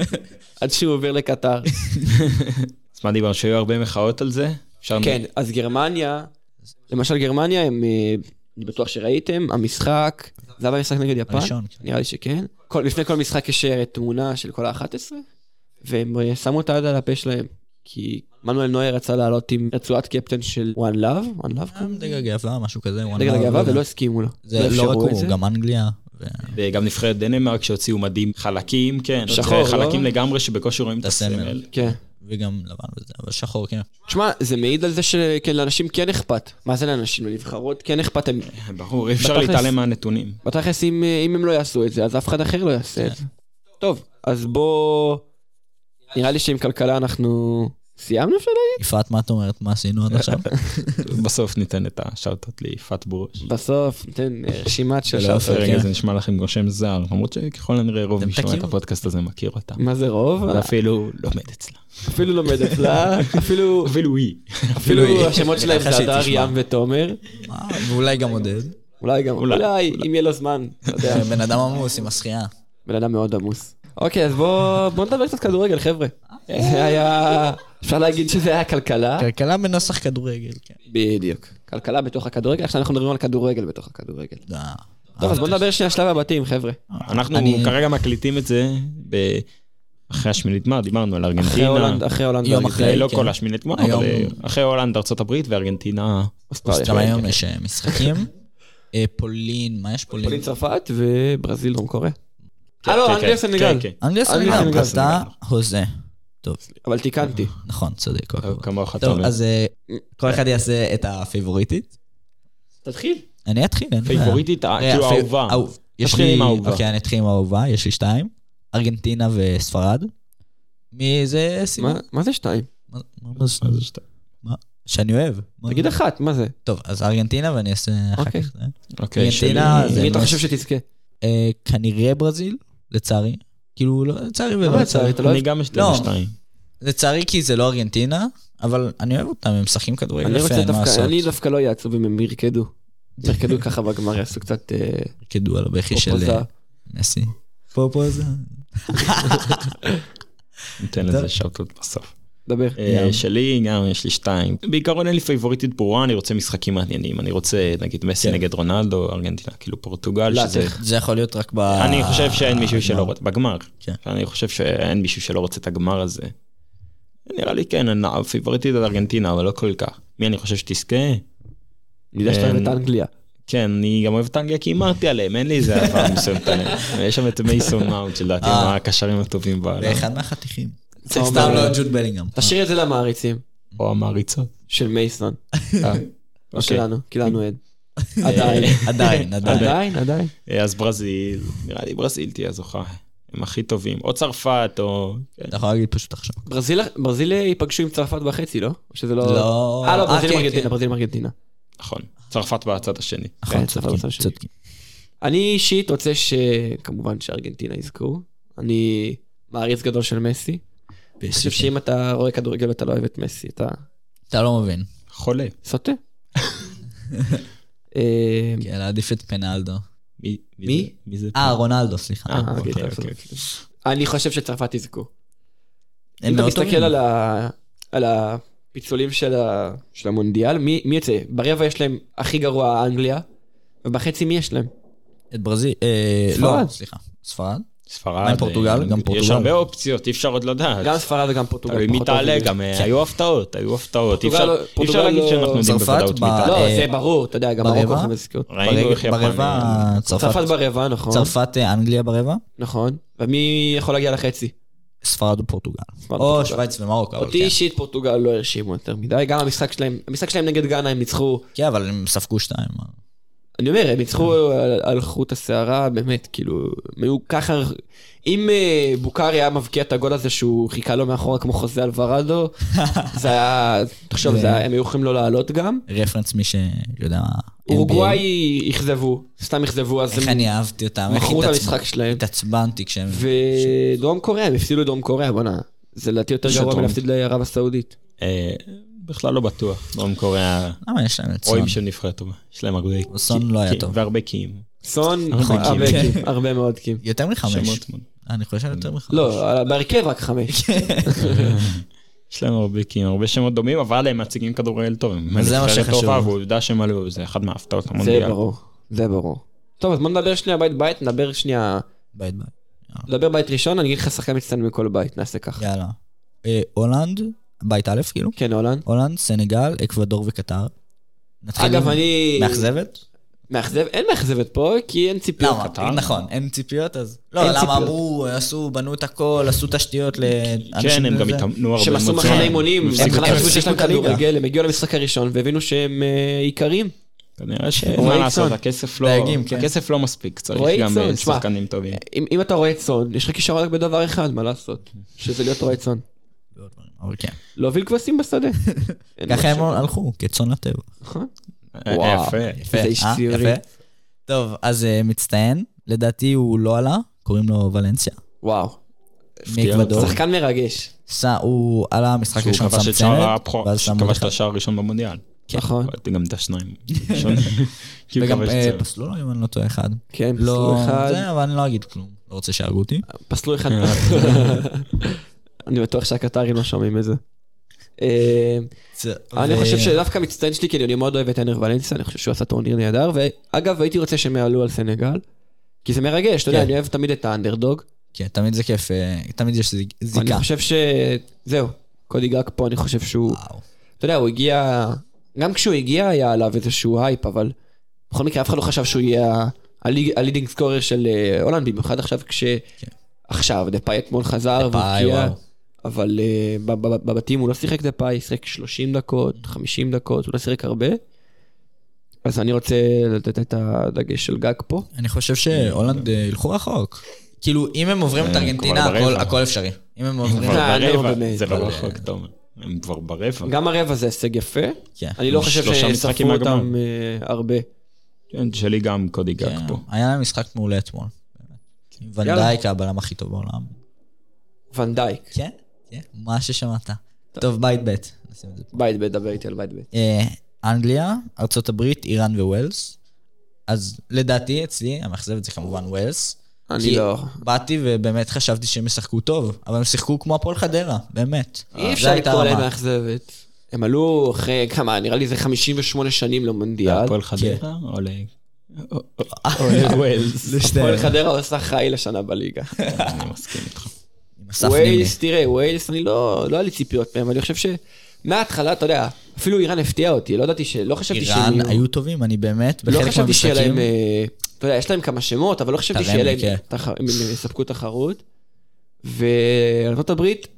Speaker 1: עד שהוא עובר לקטר.
Speaker 2: אז מה דיברנו, שהיו הרבה מחאות על זה? אפשר-
Speaker 1: כן, אז גרמניה, למשל גרמניה, הם, אה, אני בטוח שראיתם, המשחק, זה היה במשחק נגד יפן,
Speaker 3: הראשון.
Speaker 1: נראה לי שכן. כל, לפני כל משחק יש אה, תמונה של כל ה-11, והם אה, שמו את היד על הפה שלהם, כי מנואל נויר רצה לעלות עם רצועת קפטן של One Love, One Love קוראים
Speaker 3: דגל הגאווה, משהו כזה. הוא
Speaker 1: דגל
Speaker 3: אמר,
Speaker 1: הגאווה,
Speaker 3: לא יודע.
Speaker 1: ולא הסכימו לו.
Speaker 3: זה לא רק
Speaker 1: אפשרו את זה.
Speaker 3: הוא, גם אנגליה. ו-
Speaker 2: וגם נבחרת דנמרק שהוציאו מדים חלקים, כן.
Speaker 1: שחור,
Speaker 2: זה חלקים
Speaker 1: לא?
Speaker 2: לגמרי שבקושי רואים את
Speaker 3: את הסמל.
Speaker 2: הסמל.
Speaker 1: כן.
Speaker 3: וגם לבן וזה, אבל שחור,
Speaker 1: (laughs)
Speaker 3: כן.
Speaker 1: תשמע, זה מעיד על זה שלאנשים כן אכפת. מה זה לאנשים? לנבחרות כן אכפת. הם-
Speaker 2: ברור, אי אפשר
Speaker 1: בתכלס-
Speaker 2: להתעלם מהנתונים. (laughs)
Speaker 1: בתכלס, אם, אם הם לא יעשו את זה, אז אף אחד אחר לא יעשה את זה. טוב, אז בוא... נראה לי שעם כלכלה אנחנו... סיימנו אפשר להגיד?
Speaker 3: יפעת, מה את אומרת? מה עשינו עד
Speaker 1: (laughs)
Speaker 3: עכשיו?
Speaker 2: בסוף ניתן את השאוטות ליפעת ברוש.
Speaker 1: בסוף, ניתן אה, רשימת של...
Speaker 3: לא, אופן.
Speaker 2: רגע,
Speaker 3: כן.
Speaker 2: זה נשמע לכם גושם זר, למרות שככל הנראה רוב
Speaker 3: אתם
Speaker 2: מי שומע את
Speaker 3: תכירו.
Speaker 2: הפודקאסט הזה מכיר אותה.
Speaker 1: מה זה רוב?
Speaker 2: ואפילו לומד אצלה.
Speaker 1: אפילו לומד אצלה,
Speaker 3: (laughs)
Speaker 1: אפילו...
Speaker 2: אפילו היא.
Speaker 1: אפילו
Speaker 3: היא. (laughs)
Speaker 1: השמות שלהם
Speaker 3: ככה
Speaker 1: זה
Speaker 3: שהיא
Speaker 1: הדר,
Speaker 3: תשמע.
Speaker 1: ים ותומר.
Speaker 3: מה, ואולי גם עודד.
Speaker 1: אולי גם,
Speaker 2: אולי,
Speaker 1: אולי, אם יהיה לו זמן, אתה
Speaker 3: (laughs)
Speaker 1: יודע.
Speaker 3: בן אדם עמוס עם השחייה.
Speaker 1: בן אדם מאוד עמוס. אוקיי, אז בוא בוא נדבר קצת כדורגל, חבר'ה.
Speaker 3: אה.
Speaker 1: זה היה... אפשר להגיד שזה היה כלכלה.
Speaker 3: כלכלה בנוסח כדורגל, כן.
Speaker 1: בדיוק. כלכלה בתוך הכדורגל, עכשיו אנחנו מדברים על כדורגל בתוך הכדורגל.
Speaker 3: אה,
Speaker 1: טוב, אז בוא נדבר שנייה על שלב הבתים, חבר'ה.
Speaker 2: אנחנו
Speaker 3: אני-
Speaker 2: כרגע מקליטים את זה ב- אחרי השמינית גמר, דיברנו על
Speaker 1: אחרי
Speaker 2: ארגנטינה.
Speaker 1: הולנד, אחרי הולנד.
Speaker 3: יום
Speaker 1: וארגנטינה.
Speaker 3: אחרי.
Speaker 2: אולי לא
Speaker 3: כן.
Speaker 2: כל השמינית גמר,
Speaker 3: היום-
Speaker 2: אבל אה, אחרי הולנד, ארה"ב וארגנטינה.
Speaker 1: אוסטרליה.
Speaker 3: גם היום יש אה,
Speaker 2: (laughs)
Speaker 3: משחקים. אה, פולין, מה יש פולין?
Speaker 1: פולין צרפת וברזיל דרום קוריאה. אה לא,
Speaker 2: כן, כן,
Speaker 1: אנגליה סנגל.
Speaker 2: כן, כן.
Speaker 3: אנגליה
Speaker 1: אנגליה,
Speaker 3: סנגלם,
Speaker 1: סנגל.
Speaker 3: אתה הוזה. טוב,
Speaker 1: אבל תיקנתי.
Speaker 3: נכון, צודק. כל הכבוד.
Speaker 2: כמוך אוקיי, אתה
Speaker 3: טוב,
Speaker 2: אומר.
Speaker 3: אז אה, כל אחד יעשה את הפיבוריטית.
Speaker 1: תתחיל.
Speaker 3: אני אתחיל, אין בעיה.
Speaker 2: פייבוריטית, אה, כאילו
Speaker 3: הפי-
Speaker 2: האהובה.
Speaker 3: אהוב. יש
Speaker 2: תתחיל
Speaker 3: לי...
Speaker 2: עם האהובה.
Speaker 3: אוקיי, אני אתחיל עם האהובה, יש לי שתיים. ארגנטינה וספרד. מי זה סימן?
Speaker 1: מה- מה זה שתיים?
Speaker 3: מה- מה- מה זה- מה? שאני אוהב. מה-
Speaker 1: תגיד אחת, מה זה?
Speaker 3: טוב, אז ארגנטינה ואני אעשה אחר
Speaker 1: אוקיי.
Speaker 3: כך. זה.
Speaker 2: אוקיי,
Speaker 3: ארגנטינה
Speaker 2: שלי-
Speaker 3: זה-
Speaker 1: מי אתה
Speaker 3: ממש-
Speaker 1: חושב שתזכה?
Speaker 3: אה, כנראה ברזיל, לצערי. כאילו, לא, לצערי ולא
Speaker 1: לצערי,
Speaker 3: לצערי.
Speaker 1: אתה לא
Speaker 2: אני גם אשתדל
Speaker 3: לא.
Speaker 2: שתיים.
Speaker 3: לצערי כי זה לא ארגנטינה, אבל אני אוהב אותם, הם משחקים כדורגל
Speaker 1: אני
Speaker 3: יפה,
Speaker 1: רוצה
Speaker 3: אין מה
Speaker 1: דווקא,
Speaker 3: לעשות.
Speaker 1: אני דווקא לא אהיה עצוב אם הם ירקדו. ירקדו ככה בגמר, יעשו קצת אה,
Speaker 3: ירקדו על הבכי של
Speaker 1: פופוזה.
Speaker 3: אה, מסי. פופוזה.
Speaker 2: ניתן לזה שאוטות בסוף.
Speaker 1: דבר.
Speaker 2: אה,
Speaker 3: ים.
Speaker 2: שלי גם יש לי שתיים. בעיקרון אין לי פייבוריטית ברורה, אני רוצה משחקים מעניינים. אני רוצה, נגיד, מסי
Speaker 3: כן. לא,
Speaker 2: נגד רונלדו, ארגנטינה, כאילו פורטוגל, שזה...
Speaker 1: לאטח.
Speaker 3: זה יכול להיות רק ב...
Speaker 2: אני חושב שאין מישהו שלא רוצה, בגמר.
Speaker 3: אה. כן.
Speaker 2: אני חושב שאין מישהו שלא רוצה את הגמר הזה. נראה לי כן, אני פייבוריטית על ארגנטינה, אבל לא כל כך. מי אני חושב שתזכה?
Speaker 1: אני יודע שאתה
Speaker 2: אה,
Speaker 1: אוהב את אנגליה.
Speaker 2: כן, אני גם אוהב את אנגליה כי הימרתי עליהם, אין לי
Speaker 3: (laughs)
Speaker 2: איזה אהבה מסוימת עליהם. יש שם את מייסון מאונט, שלדעתי הם
Speaker 3: אה.
Speaker 2: הקשרים הטובים בעולם,
Speaker 3: ואחד מהחתיכים.
Speaker 1: אתה אומר-
Speaker 3: סתם לא ג'וד בלינגהם.
Speaker 1: תשאיר את זה למעריצים
Speaker 2: או המעריצות.
Speaker 1: של מייסון.
Speaker 3: (laughs)
Speaker 2: אה,
Speaker 1: לא
Speaker 2: אוקיי.
Speaker 1: שלנו, כי לנו אין. (laughs) עדיין.
Speaker 3: אה, עדיין, עדיין.
Speaker 1: עדיין, עדיין.
Speaker 2: אה, אז ברזיל, נראה לי ברזיל תהיה הזוכה. הם הכי טובים, או צרפת, או... כן.
Speaker 3: אתה יכול להגיד פשוט עכשיו.
Speaker 1: ברזיל, ברזיל ייפגשו עם צרפת בחצי, לא? או שזה לא...
Speaker 3: לא.
Speaker 1: אה, לא, ברזיל
Speaker 3: כן,
Speaker 1: עם ארגנטינה,
Speaker 3: כן.
Speaker 1: ברזיל עם ארגנטינה.
Speaker 2: נכון, צרפת בצד השני.
Speaker 1: כן,
Speaker 3: נכון,
Speaker 1: צרפת
Speaker 3: צודקים,
Speaker 1: בצד השני.
Speaker 3: צודקים.
Speaker 1: אני אישית רוצה ש... כמובן שארגנטינה יזכו. אני מעריץ גדול של מסי. אני חושב שאם אתה רואה כדורגל ואתה לא אוהב את מסי, אתה
Speaker 3: אתה לא מבין.
Speaker 2: חולה.
Speaker 1: סוטה. אה,
Speaker 3: כן, להעדיף את פנלדו.
Speaker 2: מי?
Speaker 1: מי?
Speaker 2: זה? מי זה?
Speaker 3: אה, רונלדו, סליחה.
Speaker 2: אה,
Speaker 1: אוקיי,
Speaker 2: אוקיי,
Speaker 1: בסדר.
Speaker 2: אוקיי.
Speaker 1: אני חושב שצרפת יזכו.
Speaker 3: הם
Speaker 1: אם אתה
Speaker 3: מאוד טובים.
Speaker 1: מסתכל על ה- על הפיצולים של ה- של המונדיאל, מי מי יצא? ברבע יש להם הכי גרוע אנגליה, ובחצי מי יש להם?
Speaker 3: את ברזיל, אה,
Speaker 1: ספרד.
Speaker 3: לא, סליחה. ספרד?
Speaker 2: ספרד.
Speaker 3: מה עם פורטוגל?
Speaker 2: אה,
Speaker 3: גם
Speaker 2: יש
Speaker 3: פורטוגל.
Speaker 2: הרבה אופציות, אי אפשר עוד לדעת.
Speaker 1: גם ספרד וגם פורטוגל.
Speaker 2: תלוי מי
Speaker 1: פחות טובים.
Speaker 2: תעלה, גם אה, היו הפתעות, היו הפתעות. אי
Speaker 1: פורטוגל
Speaker 2: אפשר-
Speaker 1: לא-
Speaker 2: אי
Speaker 1: פורטוגל
Speaker 2: אפשר להגיד
Speaker 1: לא-
Speaker 2: שאנחנו יודעים
Speaker 3: צרפת
Speaker 2: בוודאות מי
Speaker 3: ב-
Speaker 2: תעלה.
Speaker 1: לא,
Speaker 3: אה,
Speaker 1: זה ברור, אתה יודע, גם
Speaker 3: ברבע?
Speaker 1: מרוקו יכולים לזכות.
Speaker 2: ראינו איך יפן.
Speaker 3: ברבע
Speaker 1: צרפת
Speaker 3: צרפת,
Speaker 1: ברבע, נכון.
Speaker 3: צרפת אה, אנגליה ברבע,
Speaker 1: נכון. ומי יכול להגיע לחצי?
Speaker 3: ספרד ופורטוגל.
Speaker 1: ספרד
Speaker 3: או
Speaker 1: ופורטוגל.
Speaker 3: שווייץ ומרוקו. אבל
Speaker 1: אותי
Speaker 3: כן.
Speaker 1: אישית פורטוגל לא הרשימו יותר מדי, גם המשחק שלהם, המשחק שלהם נגד גאנה הם ניצחו,
Speaker 3: כן, אבל הם ספגו שתיים.
Speaker 1: אני אומר, הם ניצחו
Speaker 3: אה.
Speaker 1: על- על חוט השערה, באמת, כאילו, הם היו ככה, אם אה, בוקארי היה מבקיע את הגול הזה שהוא חיכה לו מאחורה כמו חוזה
Speaker 3: (laughs)
Speaker 1: אלוורדו, זה היה, תחשוב, זה היה- הם היו יכולים לא לעלות גם.
Speaker 3: רפרנס מי שיודע... NBA.
Speaker 1: אורוגוואי אכזבו, סתם אכזבו, אז
Speaker 3: איך
Speaker 1: הם
Speaker 3: אני אהבתי אותם, איך
Speaker 1: מכרו את
Speaker 3: התעצבנ-
Speaker 1: המשחק שלהם.
Speaker 3: התעצבנתי כשהם...
Speaker 1: ודרום קוריאה, הם הפסידו לדרום קוריאה, בואנה. זה לדעתי יותר גרוע
Speaker 3: שדרום.
Speaker 1: מלהפסיד לערב הסעודית.
Speaker 2: אה, בכלל לא בטוח. דרום קוריאה,
Speaker 3: למה יש להם את סון?
Speaker 2: רואים שהם נבחרת טובה. יש להם הרבה...
Speaker 3: סון
Speaker 2: קי-
Speaker 3: לא היה
Speaker 2: קי-
Speaker 3: טוב.
Speaker 2: והרבה קיים.
Speaker 1: סון,
Speaker 3: הרבה
Speaker 1: נכון, הרבה
Speaker 3: קים.
Speaker 1: קים, (laughs) הרבה מאוד קים.
Speaker 3: יותר מחמש.
Speaker 2: שמות מאוד.
Speaker 3: אני חושב יותר מחמש. (laughs)
Speaker 1: לא, בהרכב רק חמש.
Speaker 2: יש להם הרבה קיים, הרבה שמות דומים, אבל הם מציגים כדורגל טוב. הם
Speaker 3: זה מה
Speaker 2: נבחרת
Speaker 3: שחשוב.
Speaker 2: טובה, ועובדה שהם עלו, זה אחד מההפתעות
Speaker 1: זה
Speaker 2: המונדיאל.
Speaker 1: ברור, זה ברור. טוב, אז בוא נדבר שנייה בית בית, נדבר שנייה,
Speaker 3: בית בית.
Speaker 1: נדבר בית ראשון, אני אגיד לך שחקן מצטיין מכל בית, נעשה ככה.
Speaker 3: יאללה. אה, הולנד, בית א' כאילו.
Speaker 1: כן, הולנד.
Speaker 3: הולנד, סנגל, אקוודור וקטר. נתחיל
Speaker 1: אגב,
Speaker 3: עם-
Speaker 1: אני...
Speaker 3: מאכזבת?
Speaker 1: מאכזב? אין מאכזבת פה, כי אין ציפיות.
Speaker 3: למה?
Speaker 2: קטר?
Speaker 3: נכון, אין ציפיות אז... לא,
Speaker 1: אין
Speaker 3: למה
Speaker 1: ציפיות.
Speaker 3: אמרו, עשו, בנו את הכל, עשו תשתיות לאנשים...
Speaker 2: כן, הם גם
Speaker 3: וזה.
Speaker 2: התאמנו הרבה.
Speaker 1: שהם עשו
Speaker 2: מוצאים.
Speaker 1: מחנה אימונים,
Speaker 2: הם
Speaker 1: הם
Speaker 2: הפסיקו- הם
Speaker 1: חשבו שיש להם
Speaker 3: הפסיקו את הליגה.
Speaker 1: כדורגל, הם הגיעו למשחק הראשון והבינו שהם אה, איכרים.
Speaker 2: כנראה ש...
Speaker 1: רועי
Speaker 2: מה לעשות,
Speaker 1: צאן.
Speaker 2: הכסף לא...
Speaker 3: דייגים, כן.
Speaker 2: הכסף לא מספיק, צריך
Speaker 1: רועי
Speaker 2: גם
Speaker 1: צאן,
Speaker 2: אה,
Speaker 1: תשמע.
Speaker 2: שחקנים טובים.
Speaker 1: אם אם אתה רואה צאן, יש לך כישרון רק בדבר אחד, מה לעשות? שזה להיות רועה צאן.
Speaker 3: ועוד דברים, אבל כן.
Speaker 1: להוביל כבשים בשדה. אין
Speaker 3: ככה הם
Speaker 1: משהו.
Speaker 3: הלכו, כצאן לטבע.
Speaker 1: נכון.
Speaker 2: אה,
Speaker 1: וואו.
Speaker 2: יפה.
Speaker 3: יפה,
Speaker 1: איזה איש
Speaker 3: אה?
Speaker 1: ציוני.
Speaker 3: יפה. טוב, אז אה, מצטיין, לדעתי הוא לא עלה, קוראים לו ולנסיה.
Speaker 1: וואו.
Speaker 2: הפתיע
Speaker 3: מאקוודור.
Speaker 2: אותי.
Speaker 1: שחקן מרגש.
Speaker 3: ס- הוא עלה משחק
Speaker 2: שהוא
Speaker 3: ראשון,
Speaker 2: כבש
Speaker 3: שם
Speaker 2: את שער
Speaker 3: צמד,
Speaker 2: הבכורה,
Speaker 3: ואז שם עוד
Speaker 2: שכבש את
Speaker 3: אחד.
Speaker 2: השער הראשון במונדיאל.
Speaker 1: נכון.
Speaker 2: קבעתי גם את השניים. הראשונים. כי הוא
Speaker 3: וגם
Speaker 2: כבש את
Speaker 3: אה,
Speaker 2: זה.
Speaker 3: פסלו לו, אם אני לא טועה, אחד.
Speaker 1: כן,
Speaker 3: לא,
Speaker 1: פסלו אחד.
Speaker 3: זה, אבל אני לא אגיד כלום. לא רוצה שיהרגו אותי.
Speaker 1: פסלו אחד.
Speaker 3: כן.
Speaker 1: (laughs) אני בטוח שהקטרים לא שומעים את זה. אה, אני
Speaker 3: ו-
Speaker 1: חושב שדווקא מצטיין שלי, כי אני מאוד אוהב את הנר ולנסיה, אני חושב שהוא עשה טורניר נהדר, ואגב, הייתי רוצה שהם יעלו על סנגל, כי זה מרגש, אתה יודע,
Speaker 3: כן.
Speaker 1: אני אוהב תמיד את האנדרדוג.
Speaker 3: כן, תמיד זה כיף, אה, תמיד יש זיק-
Speaker 1: אני
Speaker 3: זיקה.
Speaker 1: חושב ש... זהו, קודי גג פה, אני חושב שהוא...
Speaker 3: וואו.
Speaker 1: אתה יודע, הוא הגיע... גם כשהוא הגיע היה עליו איזשהו הייפ, אבל בכל מקרה אף אחד לא חשב שהוא יהיה הלידינג סקורר של אה, הולנד, במיוחד עכשיו כש...
Speaker 2: כן.
Speaker 1: עכשיו, דפאי אתמול חזר
Speaker 3: ביי,
Speaker 1: והבקיע,
Speaker 3: וואו.
Speaker 1: אבל אה, בב- בב- בבתים הוא לא שיחק דפאי, שיחק 30 דקות, 50 דקות, הוא לא שיחק הרבה. אז אני רוצה לתת את הדגש של גג פה.
Speaker 3: אני חושב שהולנד אה, ילכו רחוק. כאילו, אם הם עוברים את
Speaker 2: הם
Speaker 3: ארגנטינה,
Speaker 2: כבר ברבע.
Speaker 3: הכל- הכל אפשרי. אם הם עוברים...
Speaker 2: כבר
Speaker 1: אה, לא,
Speaker 2: ברבע,
Speaker 1: באמת,
Speaker 2: זה
Speaker 1: אבל-
Speaker 2: לא רחוק, אתה אומר. הם כבר ברבע.
Speaker 1: גם הרבע זה הישג יפה,
Speaker 3: כן.
Speaker 1: אני לא חושב
Speaker 2: שלושה משחקים
Speaker 1: שספרו
Speaker 2: מהגמר.
Speaker 1: אותם אה, הרבה.
Speaker 2: כן, שלי גם קודי
Speaker 3: כן.
Speaker 2: גג פה.
Speaker 3: היה להם משחק מעולה אתמול. באמת.
Speaker 1: כן.
Speaker 3: ונדייק הבלם הכי טוב בעולם.
Speaker 1: ונדייק,
Speaker 3: כן, כן, מה ששמעת. טוב, בית ב'. נשים את זה פה.
Speaker 1: בית ב', דבר איתי על בית ב'.
Speaker 3: אה, אנגליה, ארצות הברית, איראן וווילס. אז לדעתי, אצלי, המאכזבת זה כמובן ווילס.
Speaker 1: אני
Speaker 3: כי
Speaker 1: לא...
Speaker 3: באתי ובאמת חשבתי שהם ישחקו טוב, אבל הם שיחקו כמו הפועל חדרה, באמת.
Speaker 1: אי
Speaker 3: זו
Speaker 1: אפשר
Speaker 3: אה, הייתה
Speaker 1: לקרוא להם
Speaker 3: הרמה.
Speaker 1: מאכזבת. הם עלו אחרי כמה, נראה לי זה 58 שנים למונדיאל.
Speaker 2: הפועל חדרה או ל... או- או לווילס.
Speaker 1: הפועל חדרה עושה חי לשנה
Speaker 3: (laughs)
Speaker 1: בליגה.
Speaker 2: אני מסכים איתך.
Speaker 3: עם אסף נימני.
Speaker 1: ווילס, תראה, ווילס, אני לא, לא היה לי ציפיות מהם, אני חושב מההתחלה, אתה יודע, אפילו איראן הפתיעה אותי, לא ידעתי ש... לא חשבתי שהם...
Speaker 3: איראן
Speaker 1: יהיו-
Speaker 3: היו טובים, אני באמת,
Speaker 1: לא
Speaker 3: בחלק
Speaker 1: חשבתי שיהיה
Speaker 3: מהמשחקים.
Speaker 1: להם... אה, אתה יודע, יש להם כמה שמות, אבל לא חשבתי
Speaker 3: תראה
Speaker 1: שיהיה
Speaker 3: לי,
Speaker 1: להם...
Speaker 3: כן.
Speaker 1: תח- הם הם יספקו תחרות. וארצות הברית,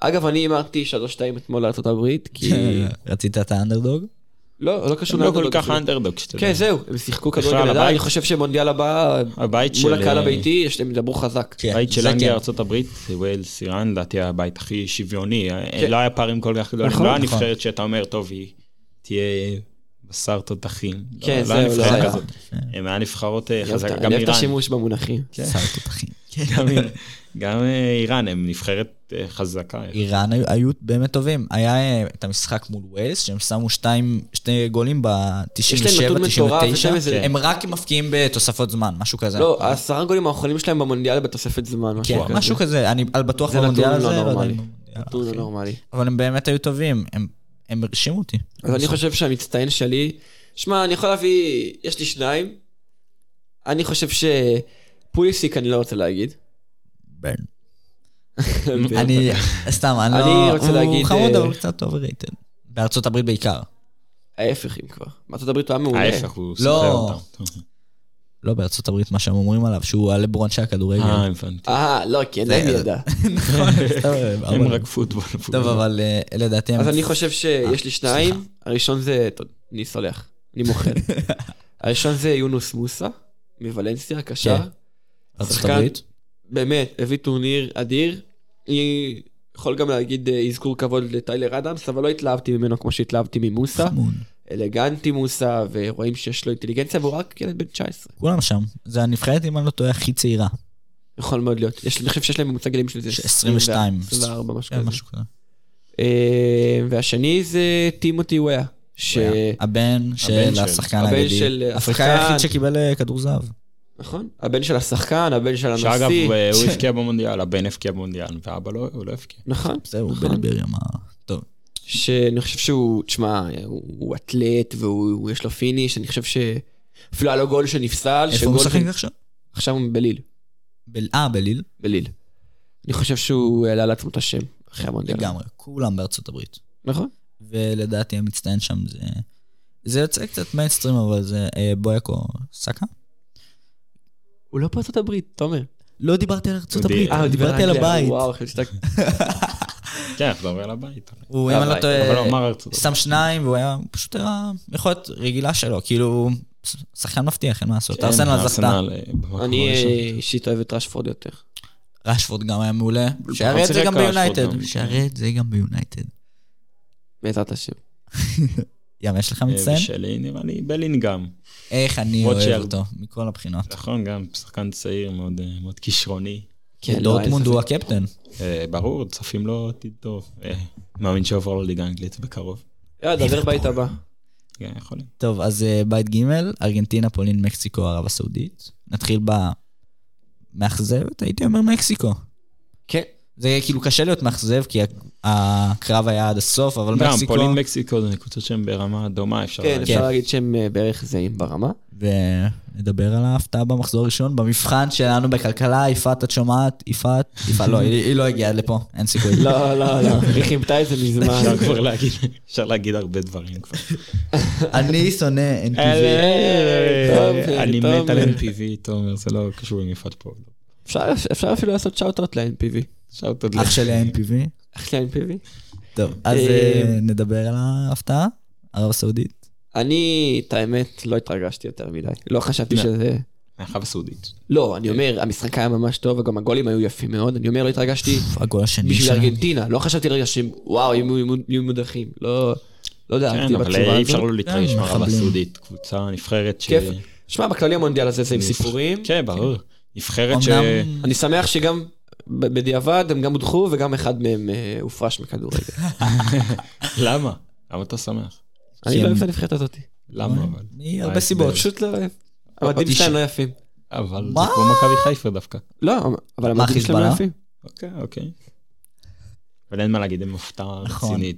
Speaker 1: אגב, אני אמרתי 3-2 אתמול לארצות הברית, כי... (laughs)
Speaker 3: כן. רצית את האנדרדוג?
Speaker 1: לא, לא קשור
Speaker 2: הם לא כל
Speaker 1: לאנדרדוג
Speaker 2: כך
Speaker 1: אפילו.
Speaker 2: אנדרדוג שאתה
Speaker 1: כן,
Speaker 2: יודע.
Speaker 1: זהו, הם שיחקו
Speaker 2: בכלל,
Speaker 1: כדורגל עדיין,
Speaker 2: הבית-
Speaker 1: אני חושב שמונדיאל הבא,
Speaker 2: הבית
Speaker 1: מול
Speaker 2: של,
Speaker 1: הקהל
Speaker 2: אה,
Speaker 1: הביתי, יש להם דברו חזק.
Speaker 3: כן,
Speaker 2: הבית של
Speaker 3: זה
Speaker 2: אנגליה,
Speaker 3: כן.
Speaker 2: ארצות הברית, ווילס, איראן, לדעתי היה הבית הכי שוויוני,
Speaker 1: כן.
Speaker 2: לא היה פערים כל כך גדולים,
Speaker 3: נכון,
Speaker 2: לא היה
Speaker 3: נכון.
Speaker 2: נבחרת שאתה אומר, טוב, היא תהיה בשר תותחים. לא-
Speaker 1: כן,
Speaker 2: לא היה
Speaker 1: זהו, לא
Speaker 2: נבחרת
Speaker 1: היה.
Speaker 2: כזאת.
Speaker 3: כן.
Speaker 2: הם היה נבחרות אה,
Speaker 1: אני אוהב את-
Speaker 2: חזקה,
Speaker 1: אני
Speaker 2: גם
Speaker 1: אוהב את
Speaker 2: איראן.
Speaker 1: השימוש במונחים.
Speaker 3: שר
Speaker 1: (laughs)
Speaker 3: תותחים.
Speaker 1: כן,
Speaker 2: גם איראן- (laughs) גם אה, איראן, הם נבחרת אה, חזקה.
Speaker 3: איראן היו- היו באמת טובים. היה אה, את המשחק מול ווילס, שהם שמו שתיים, שני גולים
Speaker 1: יש להם נתון מטורף, יש להם
Speaker 3: ב-97-99.
Speaker 1: איזה...
Speaker 3: הם רק מפקיעים בתוספות זמן, משהו כזה.
Speaker 1: לא, עשרה גולים האחרונים שלהם במונדיאל בתוספת זמן, משהו
Speaker 3: נכון. כן,
Speaker 1: כזה.
Speaker 3: משהו אוקיי. כזה, אני על בטוח
Speaker 1: זה
Speaker 3: במונדיאל
Speaker 1: נתון
Speaker 3: הזה.
Speaker 1: לא
Speaker 3: לא
Speaker 1: נורמלי.
Speaker 3: יודע אם במונדיאל.
Speaker 1: נתון לא נורמלי.
Speaker 3: אבל הם באמת היו טובים, הם- הם הרשימו אותי.
Speaker 1: אז אני חושב שהמצטיין שלי, שמע, אני יכול להביא, יש לי שניים. אני חושב שפוליסיק אני לא רוצה להגיד.
Speaker 3: בן. אני, סתם, אני
Speaker 1: אה, אוקיי. אני
Speaker 3: לא...
Speaker 1: רוצה להגיד,
Speaker 3: הוא חמוד,
Speaker 1: אה,
Speaker 3: אבל הוא קצת אוברייטד. בארצות הברית בעיקר.
Speaker 1: (laughs) ההפך אם כבר. בארצות הברית הוא היה מעולה.
Speaker 2: ההפך, הוא סוחר
Speaker 3: לא.
Speaker 2: אותם.
Speaker 3: לא, בארצות הברית, מה שהם אומרים עליו, שהוא הלברון של
Speaker 2: אה,
Speaker 3: (laughs) הכדורגל.
Speaker 2: הבנתי.
Speaker 1: אה, לא, כי אין להם ידע.
Speaker 3: סתם,
Speaker 2: הם
Speaker 3: אבל-
Speaker 2: רק פוטבול.
Speaker 3: טוב,
Speaker 2: פוטבול.
Speaker 3: אבל אה, לדעתי הם...
Speaker 1: אז אני חושב שיש לי שניים.
Speaker 3: אה, סליחה.
Speaker 1: הראשון זה, טוב, אני סולח, אני מוכר.
Speaker 3: (laughs)
Speaker 1: הראשון זה יונוס מוסה, מוולנסיה, קשר.
Speaker 3: כן. ארצות
Speaker 1: שחקן.
Speaker 3: הברית.
Speaker 1: באמת, הביא טורניר אדיר. אני יכול גם להגיד אה, אזכור כבוד לטיילר אדמס, אבל לא התלהבתי ממנו כמו שהתלהבתי ממוסה.
Speaker 3: חמוד.
Speaker 1: אלגנטי מוסה, ורואים שיש לו אינטליגנציה, והוא רק ילד בן 19.
Speaker 3: כולם שם. זה הנבחרת, אם אני לא טועה, הכי צעירה.
Speaker 1: כן, יכול מאוד להיות. יש, אני חושב שיש להם ממוצע גלים של איזה
Speaker 3: ש- 22.
Speaker 1: 24, משהו
Speaker 3: כן,
Speaker 1: כזה.
Speaker 3: משהו כזה.
Speaker 1: אה, והשני זה טימותי וויה, שהבן
Speaker 3: הבן של
Speaker 2: של-
Speaker 3: השחקן
Speaker 1: הבן
Speaker 3: האגדי.
Speaker 1: של
Speaker 3: האפריקאי
Speaker 1: השחקן.
Speaker 3: היחיד שקיבל אה, כדור זהב.
Speaker 1: נכון? הבן של השחקן, הבן של הנשיא.
Speaker 2: שאגב, אה, הוא הבקיע במונדיאל, הבן הבקיע במונדיאל, ואבא לא, הוא לא הבקיע.
Speaker 1: נכון,
Speaker 3: זהו,
Speaker 1: נכון.
Speaker 3: בליבריה, מה... טוב.
Speaker 1: שאני חושב שהוא, תשמע, הוא הוא אתלט והוא הוא- יש לו פיניש, אני חושב ש... אפילו היה לו גול שנפסל,
Speaker 3: איפה הוא
Speaker 1: שגול
Speaker 3: משחק
Speaker 1: שנ-
Speaker 3: עכשיו?
Speaker 1: עכשיו הוא בליל,
Speaker 3: בל- אה, בליל?
Speaker 1: בליל. אני חושב שהוא העלה לעצמו את השם אחרי המונדיאל.
Speaker 3: לגמרי. כולם בארצות הברית.
Speaker 1: נכון?
Speaker 3: ולדעתי המצטיין שם זה... זה יוצא קצת מיינסטרים, אבל זה אה, בויקו סאקה.
Speaker 1: הוא לא בארצות הברית, תומר.
Speaker 3: לא דיברתי על ארצות
Speaker 2: הוא די-
Speaker 3: הברית,
Speaker 1: אה, הוא דיבר
Speaker 3: דיברתי על
Speaker 1: אנגליה.
Speaker 3: הבית.
Speaker 1: וואו, חשבתי שאתה...
Speaker 2: כן, אתה עובר לבית. אולי.
Speaker 3: הוא, אם אני לא
Speaker 1: הבית.
Speaker 2: אבל הוא
Speaker 3: טועה,
Speaker 2: אמר ארצות הברית.
Speaker 3: שם שניים, והוא היה הוא פשוט היה יכולת רגילה שלו, כאילו, ש- שחקן מבטיח, אין מה לעשות. ארסנל זכתה,
Speaker 2: כן, ארסנל, אה, במקום
Speaker 1: אני
Speaker 2: הראשון.
Speaker 1: אה, אישית אוהב את רשפורד יותר.
Speaker 3: רשפורד גם היה מעולה, שיראה את זה
Speaker 2: שיחק
Speaker 3: גם
Speaker 2: רשפורד
Speaker 3: ביונייטד.
Speaker 2: גם.
Speaker 3: שיראה את זה גם ביונייטד.
Speaker 1: בעזרת השם.
Speaker 3: ים, יש לך
Speaker 2: אה,
Speaker 3: מצטיין?
Speaker 2: ושלי נראה לי בלינגהם.
Speaker 3: איך אני אוהב
Speaker 2: רוטשילד.
Speaker 3: אותו, מכל הבחינות.
Speaker 2: נכון, גם שחקן צעיר מאוד אה, מאוד כישרוני.
Speaker 1: כן, לא, אין
Speaker 3: דורטמונד
Speaker 1: ספק.
Speaker 3: הוא הקפטן.
Speaker 2: אה, ברור, צופים לו עתיד טוב. אה, מאמין שעובר לו ליגה אנגלית בקרוב.
Speaker 1: יאללה, דבר בית הבא.
Speaker 2: כן, יכולים.
Speaker 3: טוב, אז אה, בית ג', ארגנטינה, פולין, מקסיקו, ערב הסעודית. נתחיל במאכזבת, הייתי אומר מקסיקו.
Speaker 1: כן.
Speaker 3: זה כאילו קשה להיות מאכזב, כי ה- הקרב היה עד הסוף, אבל
Speaker 2: גם
Speaker 3: מקסיקו...
Speaker 2: פולין מקסיקו זה קבוצות שהן ברמה דומה, אפשר
Speaker 1: כן,
Speaker 2: להגיד.
Speaker 1: אפשר להגיד שהם אה, בערך זהים ברמה.
Speaker 3: ונדבר על ההפתעה במחזור הראשון, במבחן שלנו בכלכלה, יפעת, את שומעת? יפעת? יפעת, לא, היא היא לא הגיעה לפה, אין סיכוי.
Speaker 1: לא, לא, (laughs) לא, היא חימתה את זה מזמן.
Speaker 2: אפשר כבר להגיד, אפשר להגיד הרבה דברים
Speaker 1: (laughs)
Speaker 2: כבר.
Speaker 3: אני שונא
Speaker 1: טוב,
Speaker 3: NPV.
Speaker 2: אה, אני
Speaker 1: טוב.
Speaker 2: מת על NPV, תומר, זה לא קשור למפעל פה.
Speaker 1: אפשר- אפשר אפילו לעשות שאוט-אוט ל-NPV.
Speaker 2: שאוט עוד
Speaker 3: אח שלי היה NPV.
Speaker 1: איך זה NPV?
Speaker 3: טוב, אז
Speaker 1: אה,
Speaker 3: אה, נדבר על ההפתעה, ערב הסעודית.
Speaker 1: אני, את האמת, לא התרגשתי יותר מדי. לא חשבתי
Speaker 2: לא.
Speaker 1: שזה...
Speaker 2: מהחב הסעודית.
Speaker 1: לא, אני אומר, המשחק היה ממש טוב, וגם הגולים היו יפים מאוד. אני אומר, לא התרגשתי
Speaker 3: הגול השני
Speaker 1: בשביל
Speaker 3: שלהם.
Speaker 1: ארגנטינה. לא חשבתי לרגע שהם, וואו, הם יהיו- יהיו מודחים. לא... לא יודע,
Speaker 2: כן,
Speaker 1: הייתי
Speaker 2: אבל
Speaker 1: בצורה
Speaker 2: אי אפשר
Speaker 1: הזאת.
Speaker 2: לא להתרגש
Speaker 3: כן,
Speaker 2: מהרב
Speaker 3: מחבלים.
Speaker 2: הסעודית, קבוצה נבחרת ש...
Speaker 1: כיף. שמע, בכללי המונדיאל הזה זה עם סיפורים.
Speaker 2: כן, ברור. נבחרת ש...
Speaker 3: אמנם
Speaker 1: אני שמח שגם ב- בדיעבד הם גם הודחו וגם אחד מהם אה, הופרש
Speaker 2: (laughs)
Speaker 1: מכדורגל.
Speaker 2: למה? למה אתה שמח?
Speaker 1: אני
Speaker 3: כן.
Speaker 1: לא אוהב את הנבחרת הזאת.
Speaker 2: למה אבל?
Speaker 3: מהרבה
Speaker 2: ההסבר?
Speaker 3: סיבות.
Speaker 1: פשוט לא אוהב. המדים שלהם לא יפים.
Speaker 2: אבל
Speaker 3: מה?
Speaker 2: זה כמו מכבי חיפה דווקא.
Speaker 1: לא, אבל
Speaker 3: מה,
Speaker 1: המדים שלהם לא
Speaker 3: חיזבאללה?
Speaker 1: יפים.
Speaker 2: אוקיי, אוקיי. אבל אין מה להגיד, הם הפתעה
Speaker 3: נכון.
Speaker 2: רצינית.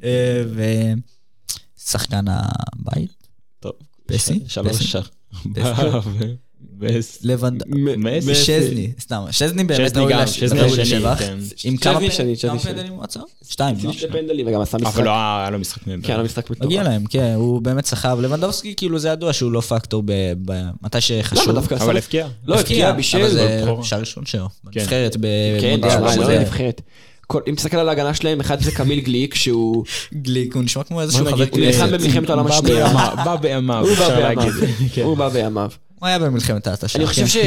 Speaker 3: ושחקן הבית,
Speaker 2: טוב.
Speaker 3: פסי?
Speaker 2: ש- שלוש
Speaker 3: פסי?
Speaker 2: (laughs) שח.
Speaker 3: פסי?
Speaker 2: וס-
Speaker 3: לבנד...
Speaker 1: מ-
Speaker 2: מסי.
Speaker 3: שזני, סתם, שזני באמת
Speaker 2: שזני
Speaker 3: ראוי
Speaker 2: גם,
Speaker 3: לש-
Speaker 2: שזני
Speaker 3: ראוי
Speaker 2: השני,
Speaker 3: לשבח.
Speaker 2: כן.
Speaker 3: עם כמה
Speaker 1: שזני
Speaker 3: פ-
Speaker 1: שני, שזני
Speaker 3: כמה
Speaker 1: שני.
Speaker 3: פנדלים הוא עצר? שתיים, לא?
Speaker 1: שני פנדלים וגם עשה משחק.
Speaker 2: אבל לא, היה לו משחק נהדר.
Speaker 1: כן, היה לו משחק מטורף.
Speaker 3: מגיע להם, כן, הוא באמת סחב. לבנדובסקי, כאילו, זה ידוע שהוא לא פקטור ב- ב- מתי שחשוב.
Speaker 1: למה דווקא עשה?
Speaker 2: אבל
Speaker 1: לו-
Speaker 2: הבקיע.
Speaker 1: לא, הבקיע, בישל.
Speaker 3: אבל זה
Speaker 2: בבכורה.
Speaker 3: שער ראשון שלו.
Speaker 2: כן.
Speaker 3: בנבחרת,
Speaker 1: כן,
Speaker 3: במונדיאל.
Speaker 1: תשמע,
Speaker 3: משהו
Speaker 1: לא
Speaker 3: כזה.
Speaker 1: לנבחרת. כל- אם תסתכל על ההגנה שלהם, אחד זה קמיל גליק, שהוא...
Speaker 3: גליק, הוא נשמע כמו איזשהו
Speaker 2: בוא
Speaker 3: חבר
Speaker 2: נגיד,
Speaker 1: הוא נלחם
Speaker 3: כנסת.
Speaker 1: במלחמת העולם
Speaker 2: בא
Speaker 1: השנייה.
Speaker 2: בימיו, בא בימיו,
Speaker 1: הוא בא
Speaker 2: אפשר
Speaker 1: בימיו.
Speaker 2: להגיד. (laughs) כן.
Speaker 1: הוא בא בימיו.
Speaker 3: הוא היה במלחמת ההתשה.
Speaker 1: אני חושב
Speaker 3: כן.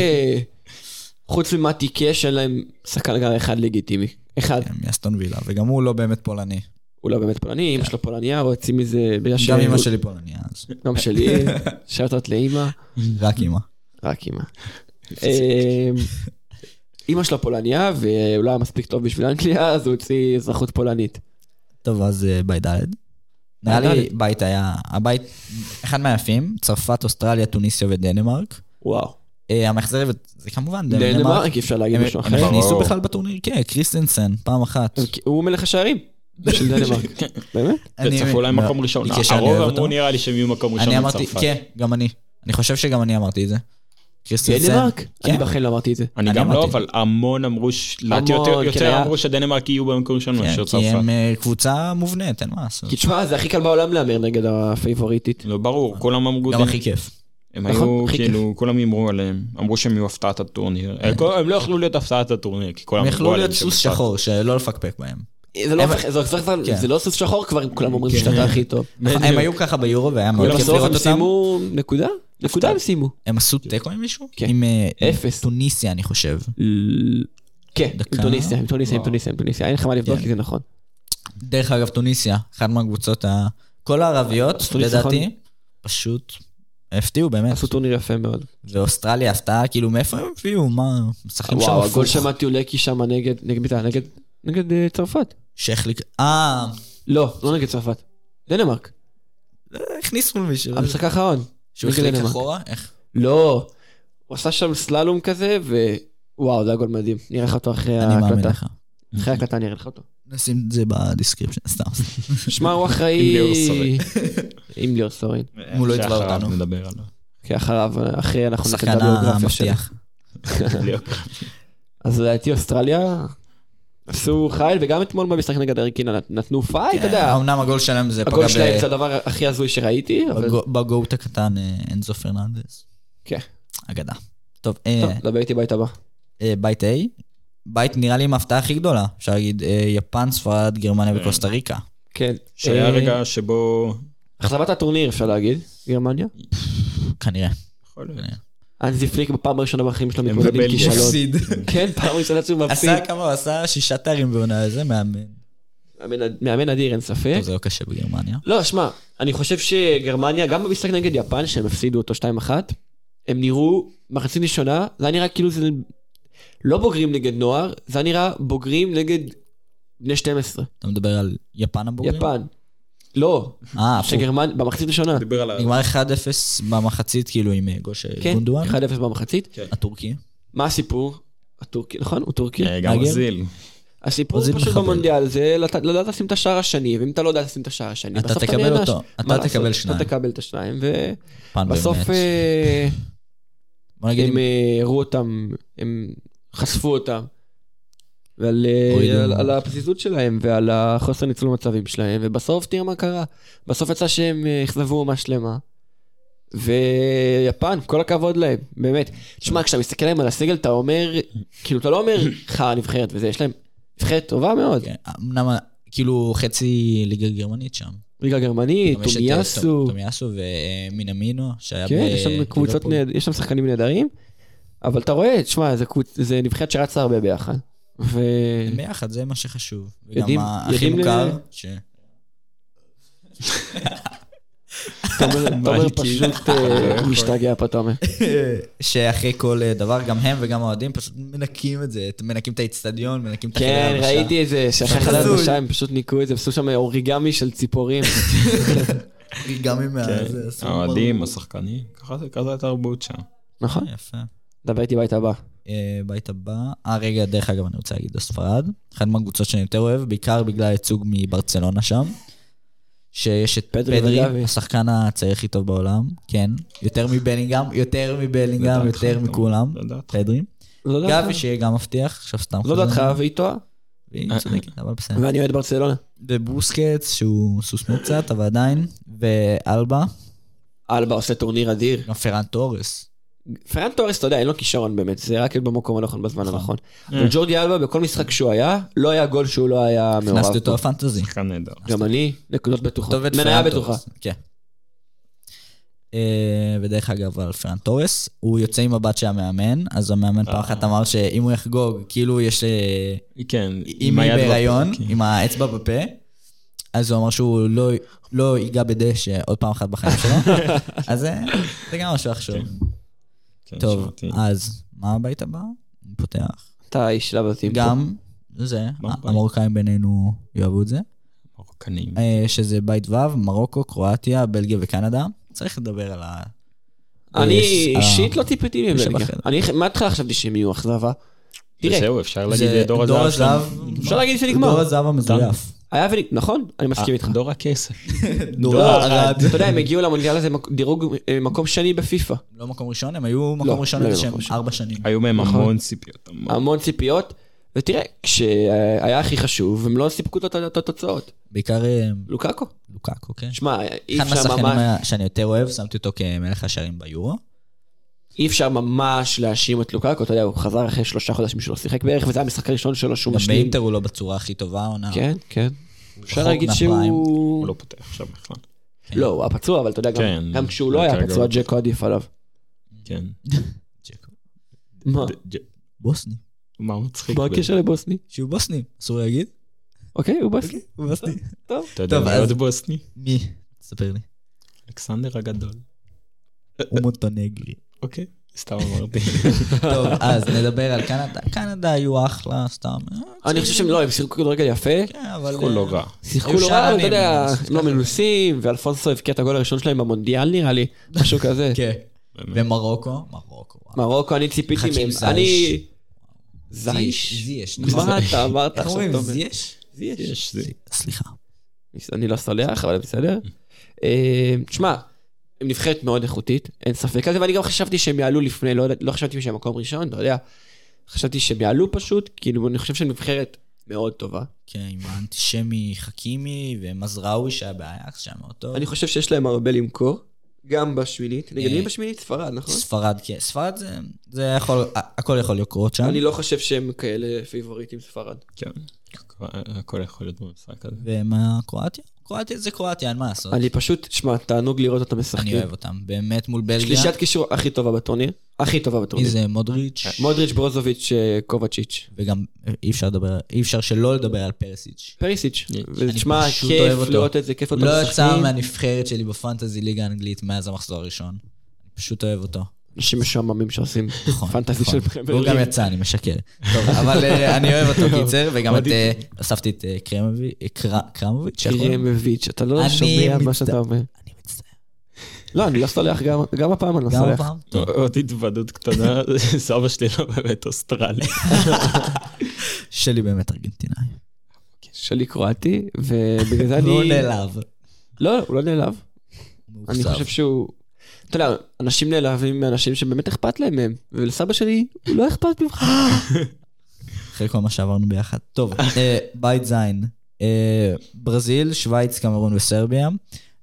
Speaker 1: שחוץ ממתי קש, אין להם שחקן הגנה אחד לגיטימי. אחד.
Speaker 3: כן, מאסטון וילה, וגם הוא לא באמת פולני.
Speaker 1: הוא לא באמת פולני, אמא שלו פולניה, הוא יוצאים מזה... בגלל ש-
Speaker 3: גם אמא שלי פולניה, אז
Speaker 1: גם שלי. שאלות לאימא.
Speaker 3: רק אמא.
Speaker 1: רק אימא. אמ, אימא שלו פולניה, והוא לא היה מספיק טוב בשביל אנגליה, אז הוא הוציא אזרחות פולנית.
Speaker 3: טוב, אז אה, בית ד'. נראה לי
Speaker 1: ד'.
Speaker 3: בית היה, הבית, אחד מהיפים, צרפת, אוסטרליה, טוניסיה ודנמרק.
Speaker 1: וואו.
Speaker 3: אה, המאכזבת, זה כמובן דנמרק.
Speaker 1: דנמרק, אי אפשר להגיד
Speaker 3: הם
Speaker 1: משהו
Speaker 3: הם
Speaker 1: אחר.
Speaker 3: הכניסו
Speaker 2: ברור. אה,
Speaker 3: בכלל בטורניר, כן, קריסטנסן, פעם אחת.
Speaker 1: הוא מלך השערים של
Speaker 3: (laughs)
Speaker 1: דנמרק.
Speaker 3: כן.
Speaker 1: באמת?
Speaker 3: אני-
Speaker 2: וצפו להם
Speaker 3: מה-
Speaker 2: מקום ראשון.
Speaker 3: ביקש שאני
Speaker 2: הרוב
Speaker 3: אוהב אותו.
Speaker 2: אמרו נראה לי שהם יהיו מקום ראשון
Speaker 3: אני אמרתי,
Speaker 2: בצרפת.
Speaker 3: כן, גם אני. אני חושב שגם אני אמרתי את זה. קריסטנסן.
Speaker 1: דנמרק? אני
Speaker 3: כן.
Speaker 1: בחיים לא אמרתי את זה.
Speaker 2: אני
Speaker 3: אני
Speaker 2: גם לא,
Speaker 3: אמרתי.
Speaker 2: אבל המון אמרו, ש- לדעתי
Speaker 1: המון,
Speaker 2: יותר-
Speaker 1: כן,
Speaker 2: יותר
Speaker 1: היה-
Speaker 2: אמרו שדנמרק יהיו במקום ראשון מאשר
Speaker 3: כן, כי
Speaker 2: צרפת.
Speaker 3: הם אה, קבוצה מובנית, אין מה לעשות.
Speaker 1: כי תשמע, זה הכי קל בעולם להמר נגד הפייבוריטית.
Speaker 2: לא, ברור, כולם אמרו,
Speaker 3: אה. גם
Speaker 2: דנ-
Speaker 3: הכי כיף.
Speaker 2: הם
Speaker 1: נכון,
Speaker 2: היו,
Speaker 1: הכי
Speaker 2: כאילו, כולם הימרו עליהם, אמרו שהם יהיו הפתעת הטורניר. אה, כל- הם לא יכלו להיות הפתעת הטורניר, כי כולם
Speaker 3: הם
Speaker 2: אמרו
Speaker 3: יכלו
Speaker 2: עליהם
Speaker 3: להיות
Speaker 2: שהם
Speaker 3: סוס
Speaker 2: הפתעת-
Speaker 3: שחור, שלא לפקפק בהם.
Speaker 1: זה לא
Speaker 3: הם-
Speaker 1: הופך- זה הופך-
Speaker 3: כן.
Speaker 1: זה לא סוס שחור כבר, כולם אומרים שאתה הכי טוב.
Speaker 3: הם היו ככה ביורו והיה מאוד כיף
Speaker 1: ובסוף
Speaker 3: לא לראות
Speaker 1: הם
Speaker 3: אותם.
Speaker 1: סיימו נקודה? נקודה הם סיימו.
Speaker 3: הם עשו תיקו עם מישהו?
Speaker 1: כן.
Speaker 3: עם אה,
Speaker 1: אפס.
Speaker 3: טוניסיה, אני חושב.
Speaker 1: כן,
Speaker 3: דקה.
Speaker 1: עם טוניסיה, עם טוניסיה, עם טוניסיה, עם טוניסיה. אין לך מה לבדוק
Speaker 3: כן.
Speaker 1: כי זה נכון.
Speaker 3: דרך אגב, טוניסיה, אחת מהקבוצות ה... כל הערביות,
Speaker 1: טוניסיה,
Speaker 3: לדעתי,
Speaker 1: נכון.
Speaker 3: פשוט הפתיעו באמת.
Speaker 1: עשו טורניר יפה מאוד.
Speaker 3: ואוסטרליה הפתעה, כאילו, מאיפה הם הביאו? מה, משחקים שם
Speaker 1: וואו, הגול
Speaker 3: הפוך.
Speaker 1: שמעתי עולה כי שם נגד, נגד בית"ר, נגד, נגד אה, צרפת.
Speaker 3: שהחליק... אה,
Speaker 1: לא, לא נגד צרפת. דנמרק,
Speaker 3: הכניסו מישהו.
Speaker 1: המשחק האחרון.
Speaker 3: שהוא
Speaker 1: נגד
Speaker 3: החליק
Speaker 1: דנמרק.
Speaker 3: אחורה? איך?
Speaker 1: אה. לא, הוא עשה שם סללום כזה, ווואו, זה היה גול מדהים. נראה לך אותו אחרי
Speaker 3: אני מאמין
Speaker 1: ההקלטה.
Speaker 3: לך.
Speaker 1: אחרי ההקלטה נראה לך אותו.
Speaker 3: נשים את זה בדיסקריפשן, סתם. סתם.
Speaker 1: שמע, הוא אחראי...
Speaker 2: עם ליאור סורין.
Speaker 1: עם ליאור סורין.
Speaker 3: הוא לא
Speaker 2: שאחריו
Speaker 3: יתבע אותנו.
Speaker 2: נדבר
Speaker 3: (laughs)
Speaker 2: עליו.
Speaker 1: כי אחריו, אחרי אנחנו נתן את
Speaker 3: השחקן
Speaker 1: הביוגרפיה שלו.
Speaker 3: המבטיח. אה.
Speaker 1: אז לדעתי אוסטרליה עשו חייל, וגם אתמול במשחק נגד ארקינה נתנו פייט, אתה יודע.
Speaker 3: אמנם הגול שלהם כן. זה פגע
Speaker 1: הגול שלהם זה
Speaker 3: ב-
Speaker 1: הדבר הכי הזוי שראיתי, אבל...
Speaker 3: בגו- בגוט הקטן אה, אנזו פרננדס.
Speaker 1: כן.
Speaker 3: אגדה. טוב, אה,
Speaker 1: טוב, לא, דבר איתי בית הבא.
Speaker 3: אה, בית A. בית נראה לי עם ההפתעה הכי גדולה. אפשר להגיד אה, יפן, ספרד, גרמניה וקוסטה ריקה.
Speaker 1: כן.
Speaker 2: שהיה
Speaker 1: אה,
Speaker 2: רגע שבו...
Speaker 1: אכזבת הטורניר אפשר להגיד, גרמניה.
Speaker 3: כנראה.
Speaker 2: יכול להיות.
Speaker 1: אנזי פליק בפעם הראשונה בחיים שלו
Speaker 2: הם
Speaker 1: מתמודד עם
Speaker 2: ובלגיה.
Speaker 1: כישלון. כן, פעם ראשונה שהוא מפסיד.
Speaker 3: עשה כמה, הוא עשה שישה תארים בעונה, זה מאמן.
Speaker 1: מאמן- מאמן אדיר, אין ספק.
Speaker 3: טוב, זה לא קשה בגרמניה.
Speaker 1: לא, שמע, אני חושב שגרמניה, גם במשחק נגד יפן, שהם הפסידו אותו 2-1, הם נראו מחצית ראשונה, זה היה נראה כאילו זה לא בוגרים נגד נוער, זה היה נראה בוגרים נגד בני 12,
Speaker 3: אתה מדבר על יפן הבוגרים?
Speaker 1: יפן. לא,
Speaker 3: אה, הפוך.
Speaker 1: שגרמניה, במחצית הראשונה.
Speaker 2: דיבר על ה...
Speaker 3: נגמר 1-0 במחצית, כאילו, עם אה, גול של
Speaker 1: כן,
Speaker 3: גונדואן,
Speaker 1: 1-0 במחצית.
Speaker 3: הטורקי.
Speaker 1: מה הסיפור? הטורקי, נכון? הוא טורקי.
Speaker 2: אה, גם
Speaker 3: נגר?
Speaker 2: ברזיל.
Speaker 1: הסיפור
Speaker 3: רוזין
Speaker 1: פשוט
Speaker 3: מחבל.
Speaker 1: במונדיאל זה לדעת- לדעת לשים את השער השני, ואם אתה לא יודע לשים את השער השני,
Speaker 3: אתה
Speaker 1: בסוף
Speaker 3: תקבל
Speaker 1: נענש.
Speaker 3: אותו, אתה
Speaker 1: מה לעשות?
Speaker 3: תקבל שניים.
Speaker 1: אתה תקבל את השניים,
Speaker 3: פן
Speaker 1: ובסוף
Speaker 3: באמת.
Speaker 1: אה,
Speaker 3: בוא נגיד,
Speaker 1: הם אה, הראו אותם, הם חשפו אותם. ועל אה,
Speaker 3: הורידו.
Speaker 1: על- על הפזיזות שלהם ועל החוסר ניצול מצבים שלהם, ובסוף תראה מה קרה. בסוף יצא שהם אה, אכזבו אומה שלמה. ויפן, כל הכבוד להם, באמת. תשמע, כשאתה מסתכל להם על הסגל, אתה אומר, כאילו, אתה לא אומר, חרא נבחרת וזה, יש להם נבחרת טובה מאוד.
Speaker 3: כן, אמנם, אה, כאילו, חצי ליגה גרמנית שם.
Speaker 1: ליגה גרמנית,
Speaker 3: גם יש את, אה,
Speaker 1: טומיאסו.
Speaker 3: טומיאסו ומינמינו, שהיה ב...
Speaker 1: כן, יש שם קבוצות,
Speaker 3: אה, ליברפול.
Speaker 1: נהד- יש שם שחקנים נהדרים, אבל אתה רואה, תשמע, זה קבוצ- זה נבחרת שרצה הרבה ביחד. ו...
Speaker 3: הם (laughs) ביחד, זה מה שחשוב. וגם
Speaker 1: יודעים-
Speaker 3: הכי
Speaker 1: יודעים ל-
Speaker 3: מוכר, ש...
Speaker 1: תומר תומר
Speaker 2: מלכי.
Speaker 3: (laughs)
Speaker 1: פשוט אה,
Speaker 2: יכול.
Speaker 1: משתגע פה, תומר.
Speaker 3: (laughs) שאחרי כל אה, דבר, גם הם וגם האוהדים פשוט מנקים את זה, מנקים את האיצטדיון, מנקים את
Speaker 1: כן,
Speaker 3: החדר
Speaker 1: ראיתי את
Speaker 3: (laughs)
Speaker 1: זה, שאחרי
Speaker 3: חזוי.
Speaker 1: חדר הלבשה הם פשוט ניקו את זה, עשו שם אוריגמי של ציפורים.
Speaker 3: גם עם
Speaker 2: כן.
Speaker 3: הזה, עשו
Speaker 2: האוהדים,
Speaker 3: ברור.
Speaker 2: השחקנים, ככה זה כזה התרבות שם.
Speaker 1: (laughs) נכון?
Speaker 3: יפה.
Speaker 1: דבר איתי בית הבא.
Speaker 3: אה, בית הבא. אה, רגע, דרך אגב, אני רוצה להגיד, ספרד. אחת מהקבוצות שאני יותר אוהב, בעיקר בגלל הייצוג מברצלונה שם. שיש את
Speaker 1: פדרי
Speaker 3: פדרי,
Speaker 1: וגבי.
Speaker 3: השחקן הצעיר הכי טוב בעולם, כן, יותר מבלינגהם, יותר מבלינגהם,
Speaker 2: לדעתך,
Speaker 3: יותר
Speaker 2: אתה אומר.
Speaker 3: מכולם,
Speaker 2: לדעתך.
Speaker 3: פדרי.
Speaker 1: לא
Speaker 3: גבי
Speaker 1: דעתך,
Speaker 3: שיהיה גם מבטיח, עכשיו סתם
Speaker 1: (laughs) לא דעתך, והיא טועה.
Speaker 3: והיא
Speaker 1: אה,
Speaker 3: צודקת, אבל בסדר.
Speaker 1: ואני אוהד ברצלונה.
Speaker 3: ובוסקץ, שהוא סוס מוקצת, אבל עדיין, ואלבה,
Speaker 1: אלבה עושה טורניר אדיר.
Speaker 3: גם פרן תורס.
Speaker 1: פרן תורס, אתה יודע, אין לו כישרון באמת, זה רק במקום הנכון בזמן
Speaker 3: נכון.
Speaker 1: הנכון. אבל ג'ורדי אלבה, בכל משחק שהוא היה, לא היה גול שהוא לא היה מעורב.
Speaker 3: הכנסתי אותו
Speaker 1: בו.
Speaker 3: לפנטזי.
Speaker 2: שחקן נהדר.
Speaker 1: גם אני, נקודות בטוחות.
Speaker 3: כתובת
Speaker 1: מניה
Speaker 3: פרן
Speaker 1: בטוחה.
Speaker 3: תורס, כן. אה, ודרך אגב, על פרן תורס, הוא יוצא עם הבת של המאמן, אז המאמן פעם אחת
Speaker 1: אה.
Speaker 3: אמר שאם הוא יחגוג, כאילו יש... אה,
Speaker 2: כן,
Speaker 3: אם היא
Speaker 2: היד
Speaker 3: בהיריון,
Speaker 2: בפה,
Speaker 1: אוקיי.
Speaker 2: כן.
Speaker 3: עם האצבע בפה, אז הוא אמר שהוא לא- לא ייגע בדשא עוד פעם אחת בחיים
Speaker 1: (laughs)
Speaker 3: שלו, אז זה- זה גם משהו לחשוב.
Speaker 2: כן,
Speaker 3: טוב, אה.
Speaker 2: שמעתי.
Speaker 3: אז מה הבית הבא? אני פותח.
Speaker 1: אתה האיש של הבתים. פה.
Speaker 3: גם זה,
Speaker 2: מה הבית?
Speaker 3: המרוקאים בינינו יאהבו את זה,
Speaker 2: מרוקנים.
Speaker 3: אה, שזה בית ו', מרוקו, קרואטיה, בלגיה וקנדה. צריך לדבר על ה...
Speaker 1: אני
Speaker 3: יש, אה,
Speaker 1: אישית לא טיפלתי
Speaker 3: יש
Speaker 1: מבלגיה.
Speaker 3: בחדר.
Speaker 1: אני מההתחלה חשבתי שהם יהיו אכזבה. תראה,
Speaker 2: וזהו, אפשר
Speaker 3: זה
Speaker 2: להגיד דור הזהב שלנו.
Speaker 1: אפשר להגיד שנגמר.
Speaker 3: דור הזהב המזויף.
Speaker 1: היה ונגמר, נכון? אני מסכים איתך.
Speaker 2: דור הכסף.
Speaker 3: דור
Speaker 1: אה,
Speaker 3: אה, ערד.
Speaker 1: אתה יודע, הם הגיעו למונדיאל הזה מק- דירוג אה, מקום שני בפיפא.
Speaker 3: לא מקום ראשון, הם היו מקום
Speaker 1: לא,
Speaker 3: ראשון
Speaker 1: לא
Speaker 3: איזה
Speaker 1: היו
Speaker 3: שהם
Speaker 1: מקום ראשון.
Speaker 3: ארבע שנים.
Speaker 2: היו מהם
Speaker 1: נכון.
Speaker 2: המון ציפיות.
Speaker 3: אה,
Speaker 2: המון.
Speaker 1: המון ציפיות, ותראה, כשהיה הכי חשוב, הם לא סיפקו את את התוצאות.
Speaker 3: בעיקר אה,
Speaker 1: לוקאקו.
Speaker 3: לוקאקו, כן.
Speaker 1: שמע, אי
Speaker 3: אחד
Speaker 1: אפשר
Speaker 3: מהשחקנים
Speaker 1: ממש...
Speaker 3: ה- שאני יותר אוהב, שמתי אותו כמלך השערים ביורו.
Speaker 1: אי אפשר ממש להאשים את לוקאקו, אתה יודע, הוא חזר אחרי שלושה חודשים שלו, שיחק בערך, וזה המשחק הראשון שלו שהוא
Speaker 3: גם
Speaker 1: משלים.
Speaker 3: באינטר הוא לא בצורה הכי טובה העונה.
Speaker 1: כן, כן. אפשר
Speaker 3: רחוק
Speaker 1: להגיד
Speaker 3: מהפריים.
Speaker 1: שהוא...
Speaker 2: הוא לא פותח עכשיו בכלל.
Speaker 1: לא, הוא היה פצוע, אבל אתה יודע, גם-
Speaker 2: כן,
Speaker 1: גם כשהוא
Speaker 2: זה
Speaker 1: לא היה
Speaker 2: יותר
Speaker 1: פצוע,
Speaker 2: גרוע.
Speaker 1: ג'קו עדיף עליו.
Speaker 2: כן.
Speaker 3: ג'קו.
Speaker 1: מה?
Speaker 2: ד- ד-
Speaker 3: בוסני.
Speaker 2: אה. מה מצחיק?
Speaker 1: מה
Speaker 2: ב-
Speaker 1: הקשר לבוסני?
Speaker 3: שהוא בוסני, אסור להגיד?
Speaker 1: אוקיי, הוא בוסני.
Speaker 3: הוא בוסני.
Speaker 2: אתה יודע,
Speaker 3: טוב,
Speaker 2: מי
Speaker 3: אז-
Speaker 2: עוד בוסני?
Speaker 3: מי? תספר
Speaker 1: (laughs)
Speaker 3: לי.
Speaker 2: אלכסנדר הגדול.
Speaker 3: הוא מוטונגלי.
Speaker 2: אוקיי, סתם אמרתי.
Speaker 3: טוב, אז נדבר על קנדה. קנדה היו אחלה, סתם. אה,
Speaker 1: אני חושב שהם לא, הם שיחקו כדורגל יפה.
Speaker 3: כן, אבל...
Speaker 2: (laughs) הוא לא רע.
Speaker 1: שיחקו
Speaker 3: היו
Speaker 1: לא רע, אבל אתה
Speaker 3: שערנים,
Speaker 1: יודע,
Speaker 3: אז
Speaker 1: הם לא
Speaker 3: ככה.
Speaker 1: מנוסים, ואלפונסו הבקיע את הגול הראשון שלהם במונדיאל נראה לי, משהו כזה.
Speaker 3: כן.
Speaker 2: באמת.
Speaker 3: ומרוקו? מרוקו. וואו.
Speaker 1: מרוקו, אני ציפיתי
Speaker 3: חכים
Speaker 1: מהם.
Speaker 3: זייש.
Speaker 1: אני...
Speaker 3: זיש.
Speaker 1: זייש.
Speaker 3: זיש. נכון.
Speaker 1: מה אתה אמרת
Speaker 3: איך
Speaker 1: עכשיו?
Speaker 3: אומרים?
Speaker 1: טוב,
Speaker 3: זיש?
Speaker 1: זייש.
Speaker 2: יש זה.
Speaker 3: סליחה.
Speaker 1: אני לא סולח, אבל בסדר. אה, תשמע, הם נבחרת מאוד איכותית, אין ספק על זה, ואני גם חשבתי שהם יעלו לפני, לא, יודע- לא חשבתי שהם מקום ראשון, אתה יודע. חשבתי שהם יעלו פשוט, כאילו, אני חושב שהם נבחרת מאוד טובה.
Speaker 3: כן, עם האנטישמי חכימי ומזרעוי שהיה באייקס שהיה מאוד טוב.
Speaker 1: אני חושב שיש להם הרבה למכור, גם בשמינית. נגד מי
Speaker 3: אה,
Speaker 1: בשמינית? ספרד, נכון?
Speaker 3: ספרד, כן. ספרד זה, זה יכול, הכל יכול לקרות שם.
Speaker 1: אני לא חושב שהם כאלה פיבוריטים ספרד.
Speaker 2: כן. הכל יכול להיות במשחק הזה.
Speaker 3: ומה קרואטיה? קרואטיה זה קרואטיה, אין מה לעשות. אני,
Speaker 1: אני פשוט, שמע, תענוג לראות אותם משחקים.
Speaker 3: לא. אוהב אותם, באמת מול בלגיה.
Speaker 1: שלישת קישור הכי טובה בטורניר, הכי טובה
Speaker 3: מי
Speaker 1: בטורניר.
Speaker 3: זה מודריץ',
Speaker 1: אה, מודריץ', ברוזוביץ', אה, קובצ'יץ',
Speaker 3: וגם אה, אי אפשר לדבר, אי אפשר שלא לדבר על פרסיץ'.
Speaker 1: פריסיץ'.
Speaker 2: אני
Speaker 1: ותשמע,
Speaker 3: פשוט אוהב
Speaker 1: כיף
Speaker 3: אותו.
Speaker 1: לראות את זה, כיף
Speaker 3: הוא
Speaker 1: אותם
Speaker 3: לא יצא
Speaker 1: משחקים.
Speaker 3: מהנבחרת שלי בפנטזי ליגה האנגלית מאז המחזור הראשון. אני פשוט אוהב אותו.
Speaker 1: אנשים משועממים שעושים
Speaker 3: נכון,
Speaker 1: פנטזי
Speaker 3: נכון.
Speaker 1: של פרמייר
Speaker 3: והוא גם
Speaker 1: ליג.
Speaker 3: יצא, אני משקר. טוב, אבל אה, אני אוהב
Speaker 1: (laughs)
Speaker 3: אותו קיצר, וגם את, אה, הוספתי את אה, קרמובי- אה, קר- קרמוביץ', איך קוראים לו?
Speaker 1: קרמביץ', אתה לא
Speaker 3: אני
Speaker 1: שומע מה
Speaker 3: מצטער.
Speaker 1: שאתה אומר.
Speaker 3: אני מצטער.
Speaker 1: לא, אני לא סולח, גם- גם הפעם אני לא
Speaker 3: גם
Speaker 1: סולח.
Speaker 3: הפעם? טוב.
Speaker 2: אה, עוד התוודות קטנה, (laughs) סבא שלי לא באמת אוסטרלי.
Speaker 1: לא.
Speaker 3: שלי באמת ארגנטינאי.
Speaker 1: שלי קרואטי, ובגלל
Speaker 3: (laughs)
Speaker 1: זה אני...
Speaker 3: והוא נעלב.
Speaker 1: לא, הוא לא נעלב.
Speaker 3: הוא
Speaker 1: אני
Speaker 3: מאוכזב.
Speaker 1: חושב שהוא... אתה יודע, אנשים נעלבים מאנשים שבאמת אכפת להם מהם, ולסבא שלי, הוא לא אכפת ממך.
Speaker 3: אחרי כל מה שעברנו ביחד. טוב, אה, בית זין. אה, ברזיל, שווייץ, קמרון וסרביה.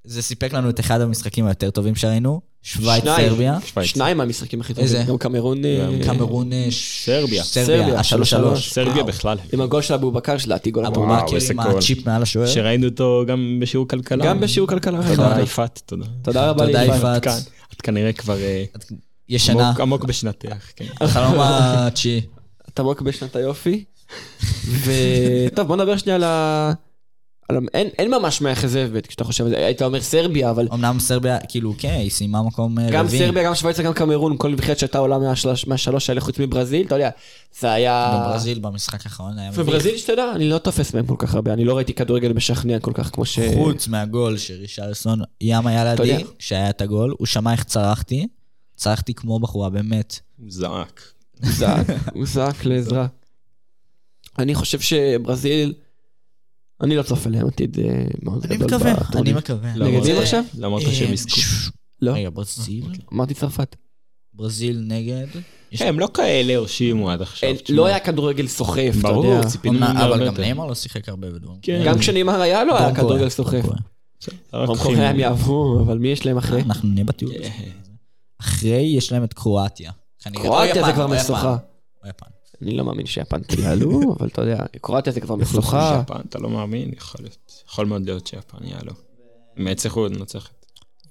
Speaker 3: זה סיפק לנו את אחד המשחקים היותר טובים שראינו. שווייץ,
Speaker 1: שניים.
Speaker 3: סרביה.
Speaker 2: שווייץ.
Speaker 1: שניים מהמשחקים הכי טובים.
Speaker 3: איזה?
Speaker 1: גם קמרון... אה,
Speaker 2: גם
Speaker 3: קמרון, אה, ש-
Speaker 2: סרביה.
Speaker 3: סרביה,
Speaker 1: סרביה,
Speaker 3: השלוש שלוש.
Speaker 2: לא, סרביה בכלל.
Speaker 1: לא, עם הגול של אבו בקר שלה, עתיגול
Speaker 3: אבו
Speaker 1: אבו
Speaker 2: וואו,
Speaker 3: מאקר
Speaker 2: איזה
Speaker 3: עם
Speaker 2: גול.
Speaker 3: הצ'יפ מעל השוער.
Speaker 2: שראינו אותו גם בשיעור כלכלה.
Speaker 1: גם בשיעור כלכלה.
Speaker 2: תודה, יפעת, תודה.
Speaker 1: תודה רבה
Speaker 3: נכון. תודה,
Speaker 1: ליפעת.
Speaker 3: יפעת.
Speaker 2: את כאן. את כנראה כבר אה,
Speaker 3: את ישנה.
Speaker 2: עמוק- עמוק בשנתך, כן.
Speaker 1: (laughs)
Speaker 3: החלום התשיעי.
Speaker 1: אתה מוק בשנת היופי. וטוב, בוא נדבר שנייה על ה... על ה... אין, אין ממש מאכזב, כשאתה חושב על זה, היית אומר סרביה, אבל
Speaker 3: אמנם סרביה, כאילו, כן, היא סיימה מקום אה, רביעי.
Speaker 1: גם סרביה, גם שווייצר, גם קמרון, כל נבחרת שהייתה עולה מהשלוש, מהשלוש האלה חוץ מברזיל, אתה יודע, זה היה...
Speaker 3: בברזיל במשחק האחרון היה מביך.
Speaker 1: וברזיל, שתדע, אני לא תופס מהם כל כך הרבה, אני לא ראיתי כדורגל משכנע כל כך כמו ש...
Speaker 3: חוץ מהגול שרישרסון, ים היה
Speaker 1: אתה
Speaker 3: לידי,
Speaker 1: יודע.
Speaker 3: שהיה את הגול, הוא שמע איך צרחתי, צרחתי כמו בחורה, באמת.
Speaker 2: הוא זעק.
Speaker 1: הוא זעק, הוא זעק לעזרה. אני חושב שברזיל, אני לא צופה להם עתיד אה, מאוד
Speaker 3: אני
Speaker 1: גדול.
Speaker 3: מקווה, אני
Speaker 1: בטורניר.
Speaker 3: מקווה.
Speaker 1: נגד
Speaker 2: למרות-
Speaker 1: מי הם עכשיו?
Speaker 2: למה
Speaker 3: אה,
Speaker 2: אתה שהם יזכו?
Speaker 3: ש-
Speaker 1: לא,
Speaker 3: רגע, ברזיל?
Speaker 1: אמרתי צרפת.
Speaker 3: ברזיל נגד? יש-
Speaker 2: הם לא כאלה הרשימו עד עכשיו.
Speaker 1: אין-
Speaker 2: תשמע.
Speaker 1: לא היה כדורגל סוחף, אתה
Speaker 2: ברור,
Speaker 1: יודע.
Speaker 2: ציפינו
Speaker 3: אומנם-
Speaker 2: הרבה
Speaker 3: אבל גם
Speaker 2: יותר.
Speaker 3: נאמר לא שיחק הרבה בדרום. אה,
Speaker 2: כן.
Speaker 1: גם כשנאמר היה לו היה כדורגל סוחף.
Speaker 2: רק
Speaker 1: דרום
Speaker 2: כימי.
Speaker 1: קוריאה הם יעברו, אבל מי יש להם אחרי?
Speaker 3: אנחנו נהיה בטיול.
Speaker 1: אה.
Speaker 2: כן.
Speaker 3: אחרי יש להם את קרואטיה. כנראה- או
Speaker 1: קרואטיה זה
Speaker 3: יפן,
Speaker 1: כבר
Speaker 3: או יפן.
Speaker 1: משוכה.
Speaker 3: או יפן.
Speaker 1: אני לא מאמין שיפן
Speaker 3: (laughs)
Speaker 1: תיעלו, אבל אתה יודע, קרואטיה זה כבר משוכה.
Speaker 2: יפן, אתה לא מאמין? יכול להיות. יכול מאוד להיות שיפן יעלו. הם יצליחו לנצח את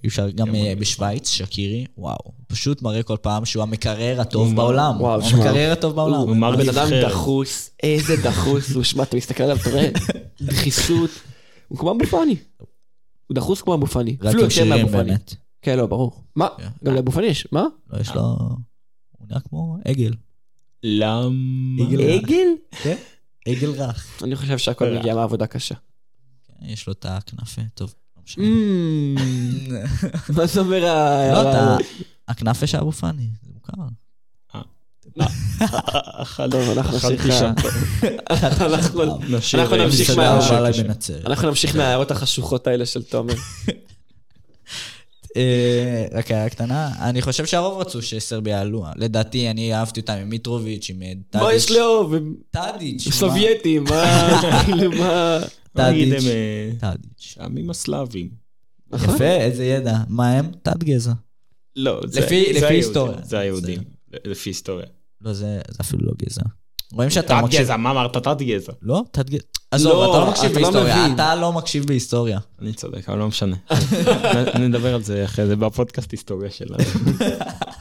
Speaker 3: אי אפשר גם אה, בשוויץ, שקירי, וואו. הוא פשוט מראה כל פעם שהוא המקרר הטוב בעולם.
Speaker 1: וואו,
Speaker 3: הוא
Speaker 1: שמע.
Speaker 3: המקרר הטוב בעולם.
Speaker 2: הוא מר
Speaker 1: הבן אדם
Speaker 2: בנבחרת.
Speaker 1: דחוס, איזה דחוס הוא, שמע, אתה מסתכל עליו, אתה
Speaker 3: (laughs)
Speaker 1: רואה, דחיסות. הוא כמו אבו פאני. הוא דחוס כמו אבו פאני.
Speaker 3: רק
Speaker 1: אפילו
Speaker 3: עם
Speaker 1: יותר
Speaker 3: שירים
Speaker 1: מאבו פאני.
Speaker 3: באמת.
Speaker 1: כן, לא, ברור. מה?
Speaker 3: כן.
Speaker 1: גם לאבו פאני יש, מה?
Speaker 3: לא, יש לו... הוא נראה כמו עגל.
Speaker 2: למה?
Speaker 3: עגל.
Speaker 1: עגל?
Speaker 3: כן? עגל רך.
Speaker 1: אה, אני חושב שהכל מגיע מעבודה
Speaker 3: (laughs)
Speaker 1: קשה.
Speaker 3: יש לו את הכנף, אה, טוב. לא משנה.
Speaker 1: אמ, מה זה אומר
Speaker 3: לא,
Speaker 1: ה...
Speaker 3: אתה... הכנאפה של אבו פאני, זה מוכר.
Speaker 2: אחד
Speaker 1: טוב, אנחנו
Speaker 2: אכלתי
Speaker 1: נמשיך לה- אנחנו-
Speaker 2: נשאיר
Speaker 1: אנחנו
Speaker 2: רגע.
Speaker 1: נמשיך
Speaker 2: מסעדה
Speaker 1: מה-
Speaker 2: או
Speaker 3: אוקיי.
Speaker 1: מה-
Speaker 2: משהו כזה.
Speaker 3: בנצרת.
Speaker 1: אנחנו נמשיך מההערות החשוכות האלה של תומר.
Speaker 2: (laughs)
Speaker 3: אה, רק הערה קטנה, אני חושב שהרוב רצו שסרביה יעלו. לדעתי, אני אהבתי אותם עם מיטרוביץ', עם אה, טאדיץ'.
Speaker 1: מה יש לאהוב? הם
Speaker 3: טאדיץ'.
Speaker 1: סובייטים, מה? כאילו, מה?
Speaker 2: בוא נגיד,
Speaker 3: טאדיץ'.
Speaker 2: הם, אה,
Speaker 3: מה? טאדיץ'.
Speaker 2: העמים הסלאבים.
Speaker 1: נכון.
Speaker 3: יפה, איזה ידע. מה הם? תת גזע.
Speaker 2: לא, זה-
Speaker 3: לפי-
Speaker 2: זה
Speaker 3: לפי
Speaker 2: היהודים,
Speaker 3: היסטוריה.
Speaker 2: זה היהודים, לפי היסטוריה.
Speaker 3: לא, זה זה אפילו לא גזע. רואים שאתה
Speaker 2: תת
Speaker 3: מקשיב...
Speaker 2: גזע, מה אמרת? תת גזע.
Speaker 3: לא? תת גזע. עזוב, אתה לא מקשיב
Speaker 1: אתה לא
Speaker 3: בהיסטוריה.
Speaker 1: מבין.
Speaker 3: אתה לא מקשיב בהיסטוריה.
Speaker 2: אני צודק, אבל לא משנה. (laughs) נ- נדבר על זה אחרי זה בפודקאסט היסטוריה שלנו.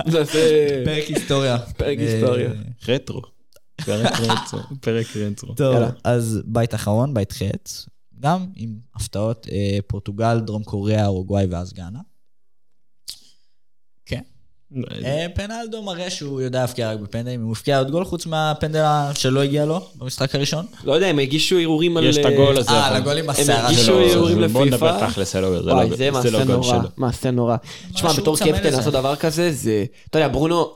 Speaker 1: נעשה-
Speaker 2: (laughs)
Speaker 3: פרק היסטוריה.
Speaker 1: פרק היסטוריה.
Speaker 3: אה,
Speaker 2: רטרו. פרק רטרו. פרק רטרו.
Speaker 3: טוב,
Speaker 1: יאללה.
Speaker 3: אז בית אחרון, בית ח', גם עם הפתעות, אה, פורטוגל, דרום קוריאה, אורוגוואי ואז גאנה. כן. אה, פנלדו מראה שהוא יודע להבקיע רק בפנדלים, הוא הבקיע עוד גול חוץ מהפנדל ה- שלא הגיע לו במשחק הראשון.
Speaker 1: לא יודע, הם הגישו ערעורים על...
Speaker 2: יש את הגול הזה.
Speaker 3: אה,
Speaker 2: אבל-
Speaker 3: לגול עם
Speaker 1: נכון. הם
Speaker 3: הסערה
Speaker 1: הרגישו
Speaker 2: זה לא-
Speaker 1: ערעורים
Speaker 2: זה- בוא
Speaker 1: לפיפ"א.
Speaker 2: נדבר תכלס, זה לא זה
Speaker 1: וואי, זה
Speaker 2: לא- זה
Speaker 1: מעשה
Speaker 2: לא גול
Speaker 1: נורא,
Speaker 2: שלו.
Speaker 1: מעשה נורא. תשמע,
Speaker 3: שהוא
Speaker 1: בתור
Speaker 3: צמא
Speaker 1: קפטן
Speaker 3: לזה.
Speaker 1: לעשות דבר כזה, זה... אתה יודע, ברונו...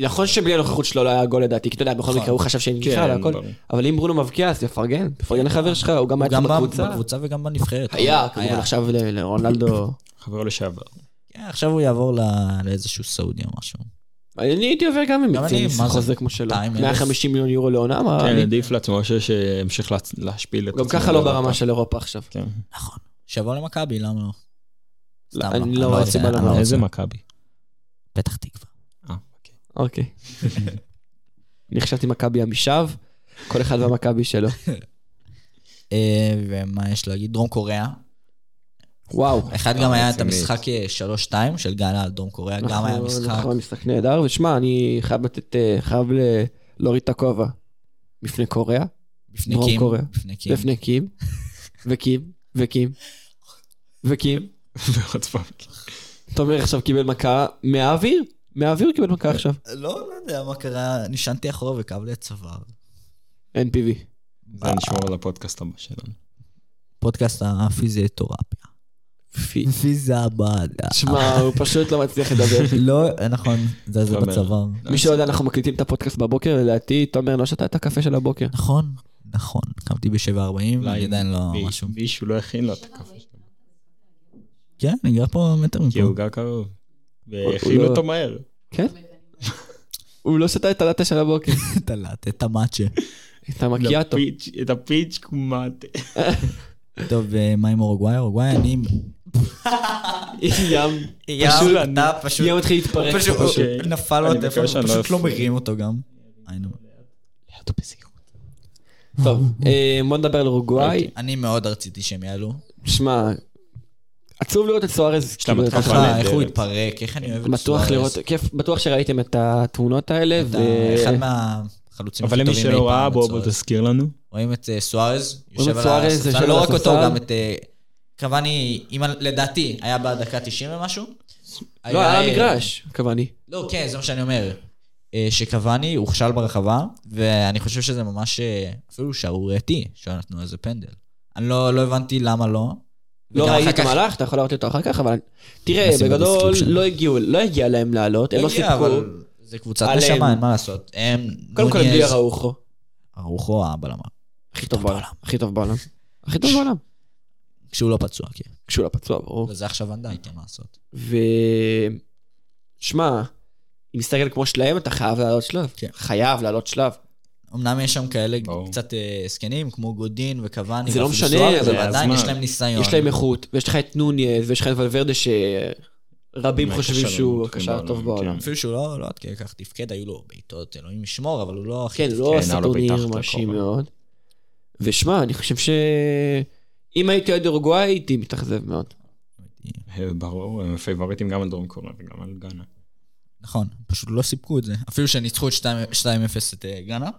Speaker 1: נכון שבלי הנוכחות שלו לא היה גול לדעתי, כי אתה יודע, בכל
Speaker 3: נכון.
Speaker 1: מקרה הוא חשב שאין
Speaker 2: כן,
Speaker 1: גישה והכל,
Speaker 2: ברור.
Speaker 1: אבל אם ברונו מבקיע, אז תפרגן, תפרגן לחבר שלך, הוא גם
Speaker 3: הוא
Speaker 1: היה
Speaker 3: גם
Speaker 1: אצלך
Speaker 3: בקבוצה.
Speaker 1: בקבוצה.
Speaker 3: בקבוצה וגם בנבחרת.
Speaker 1: היה, כמובן עכשיו ל- לרונלדו.
Speaker 2: חברו לשעבר.
Speaker 1: אה,
Speaker 3: כן, עכשיו הוא יעבור ל- לאיזשהו סעודי או משהו.
Speaker 1: אני הייתי עובר גם עם
Speaker 3: גם אני,
Speaker 1: מיצים,
Speaker 3: מה זה?
Speaker 1: חוזה כמו שלו.
Speaker 3: 200,000.
Speaker 1: 150 מיליון יורו לעונה, מה?
Speaker 2: כן,
Speaker 1: אני-
Speaker 2: עדיף לעצמו ש- שימשיך להצ- להשפיל את
Speaker 1: גם ככה לא ברמה של אירופה עכשיו.
Speaker 2: כן.
Speaker 3: נכון. שיבוא למכבי, למה לא?
Speaker 1: לא,
Speaker 3: סתם
Speaker 1: אני
Speaker 3: אני
Speaker 1: לא
Speaker 3: לא
Speaker 1: רואה
Speaker 3: יודע,
Speaker 1: סיבה
Speaker 3: אני לא
Speaker 1: למה.
Speaker 3: רוצה.
Speaker 2: איזה מכבי.
Speaker 3: פתח תקווה.
Speaker 2: אה, אוקיי. (laughs)
Speaker 1: אוקיי. (laughs) אני חשבתי מכבי עמישב, כל אחד והמכבי שלו.
Speaker 3: אה, ומה יש להגיד? דרום קוריאה.
Speaker 1: וואו.
Speaker 3: אחד גם היה את
Speaker 2: רצינית.
Speaker 3: המשחק אה, 3-2 של גאנה על דרום קוריאה, גם
Speaker 1: נכון,
Speaker 3: היה משחק.
Speaker 1: נכון, משחק נהדר, ושמע, אני חייב לתת, אה, חייב ל- להוריד את הכובע. בפני קוריאה,
Speaker 3: בפני
Speaker 1: דרום
Speaker 3: קים.
Speaker 1: קוריאה.
Speaker 3: בפני קים.
Speaker 1: בפני
Speaker 3: (laughs)
Speaker 1: קים, וקים, וקים, וקים.
Speaker 2: ועוד פעם.
Speaker 1: תומר עכשיו קיבל מכה מהאוויר, מהאוויר הוא קיבל מכה עכשיו.
Speaker 3: לא, לא יודע מה קרה, נשענתי אחורה וכאב לי הצוואר.
Speaker 1: NPV.
Speaker 2: זה נשמור על הפודקאסט הבא שלנו.
Speaker 3: פודקאסט הפיזיותרפיה.
Speaker 1: פי.
Speaker 3: פיזיאבאדה.
Speaker 1: שמע, הוא פשוט לא מצליח
Speaker 3: (laughs)
Speaker 1: לדבר.
Speaker 3: לא, נכון, זה זה
Speaker 2: תומר.
Speaker 3: בצוואר.
Speaker 1: מי שלא יודע, אנחנו מקליטים את הפודקאסט בבוקר, לדעתי תומר לא שתה את הקפה של הבוקר.
Speaker 3: נכון, נכון. קמתי ב-7.40, אני עדיין
Speaker 2: מי-
Speaker 3: לא משהו.
Speaker 2: מישהו לא הכין לו את הקפה שלו.
Speaker 3: כן, אני גר פה מטר
Speaker 2: כי הוא
Speaker 3: מפה.
Speaker 2: גר קרוב.
Speaker 1: הוא
Speaker 2: והכינו
Speaker 1: לא-
Speaker 2: אותו מהר.
Speaker 1: כן? הוא לא שתה את הלטה של הבוקר.
Speaker 3: את הלאט, את המאצ'ה.
Speaker 1: את
Speaker 3: לא.
Speaker 1: המקיאטו.
Speaker 2: לפיץ', את הפיץ' קומט.
Speaker 3: טוב, ומה עם אורוגוואי? אורוגוואי, אני...
Speaker 1: ים.
Speaker 3: פשוט, אתה פשוט...
Speaker 1: ים מתחיל להתפרק.
Speaker 3: פשוט
Speaker 2: אוקיי.
Speaker 3: נפל לו
Speaker 2: אני
Speaker 3: הטלפון,
Speaker 2: מקווה שאני לא
Speaker 3: פשוט לא
Speaker 2: אפריע.
Speaker 3: מרים אותו גם. היינו.
Speaker 1: טוב, אה, בוא נדבר על אורוגוואי.
Speaker 3: אני מאוד רציתי שהם יעלו.
Speaker 1: שמע, עצוב לראות את סוארז.
Speaker 2: יש להם
Speaker 1: כאילו,
Speaker 2: התקפה.
Speaker 1: ככה,
Speaker 3: ככה, איך הוא
Speaker 2: נהדרת.
Speaker 3: התפרק, איך אני אוהב את
Speaker 1: בטוח
Speaker 3: סוארס.
Speaker 1: לראות, אה, כיף, בטוח שראיתם את התמונות האלה.
Speaker 3: אתה
Speaker 1: ו-
Speaker 3: אחד מהחלוצים הכי
Speaker 2: אבל למי
Speaker 3: טובים אי
Speaker 2: שלא ראה,
Speaker 3: פעם.
Speaker 2: בוא
Speaker 3: בצורה
Speaker 2: בוא
Speaker 3: הזאת.
Speaker 2: תזכיר לנו.
Speaker 3: רואים את אה, סוארז, יושב
Speaker 1: את
Speaker 3: על
Speaker 1: סוארז, יושב
Speaker 3: הספסל,
Speaker 1: על
Speaker 3: לא רק אותו,
Speaker 1: הספסל.
Speaker 3: גם את אה, קוואני, אם אני- לדעתי, היה בדקה 90 ומשהו.
Speaker 1: לא,
Speaker 3: אה,
Speaker 1: היה מגרש, קוואני.
Speaker 3: לא, כן, זה מה שאני אומר. אה, שקוואני הוכשל ברחבה, ואני חושב שזה ממש אה, אפילו שערורייתי, שנתנו איזה פנדל. אני לא, לא הבנתי למה לא.
Speaker 1: לא
Speaker 3: וגם
Speaker 1: ראיתי
Speaker 3: אחר
Speaker 1: את
Speaker 3: כך-
Speaker 1: המהלך, אתה יכול להראות אותו אחר כך, אבל תראה,
Speaker 3: נשים
Speaker 1: בגדול
Speaker 3: בדיסקריפשן.
Speaker 1: לא הגיעו, לא הגיע להם לעלות, הם לא
Speaker 3: הגיע,
Speaker 1: סיפקו.
Speaker 3: כן, אבל זה קבוצת
Speaker 1: עליהם.
Speaker 3: נשמה, אין מה לעשות. הם...
Speaker 1: קודם כל הם
Speaker 3: נוניז,
Speaker 1: בלי אראוחו.
Speaker 3: ארוחו הבלמה.
Speaker 1: הכי טוב בעולם. הכי טוב בעולם. הכי טוב בעולם.
Speaker 3: כשהוא לא פצוע, כן.
Speaker 1: כשהוא לא פצוע, ברור.
Speaker 3: וזה עכשיו ונדייק, אין מה לעשות.
Speaker 1: ו... שמע, עם סגל כמו שלהם אתה חייב לעלות שלב.
Speaker 3: כן.
Speaker 1: חייב לעלות שלב.
Speaker 3: אמנם יש שם כאלה
Speaker 2: ברור.
Speaker 3: קצת אה, זקנים, כמו גודין וקוואני.
Speaker 1: זה לא
Speaker 3: ואפילו
Speaker 1: משנה,
Speaker 3: סוארז,
Speaker 1: זה
Speaker 3: אבל עדיין
Speaker 2: הזמן.
Speaker 3: יש להם ניסיון.
Speaker 1: יש להם איכות, ויש לך את נוניז, ויש לך את ולוורדה שרבים
Speaker 2: מהקשרים
Speaker 1: חושבים שהוא
Speaker 2: הטובים
Speaker 1: הקשר הטוב
Speaker 2: בעולם,
Speaker 1: בעולם.
Speaker 2: כן.
Speaker 3: אפילו שהוא לא, לא עד כדי כך תפקד, היו לו בעיטות, אלוהים ישמור, אבל הוא לא הכי...
Speaker 1: כן, לא
Speaker 2: כן,
Speaker 1: עשה
Speaker 2: אבל לא
Speaker 1: טורניר
Speaker 2: ביטחת
Speaker 1: מרשים
Speaker 2: הכל.
Speaker 1: מאוד. ושמע, אני חושב ש... אם הייתי אוהד אורוגוואי, הייתי מתאכזב מאוד.
Speaker 2: אה, ברור, הם פייבוריטים גם על דרום קוריאה וגם על גאנה.
Speaker 3: נכון, פשוט לא סיפקו את זה. אפילו שניצחו את 2-0 את אה, גאנה.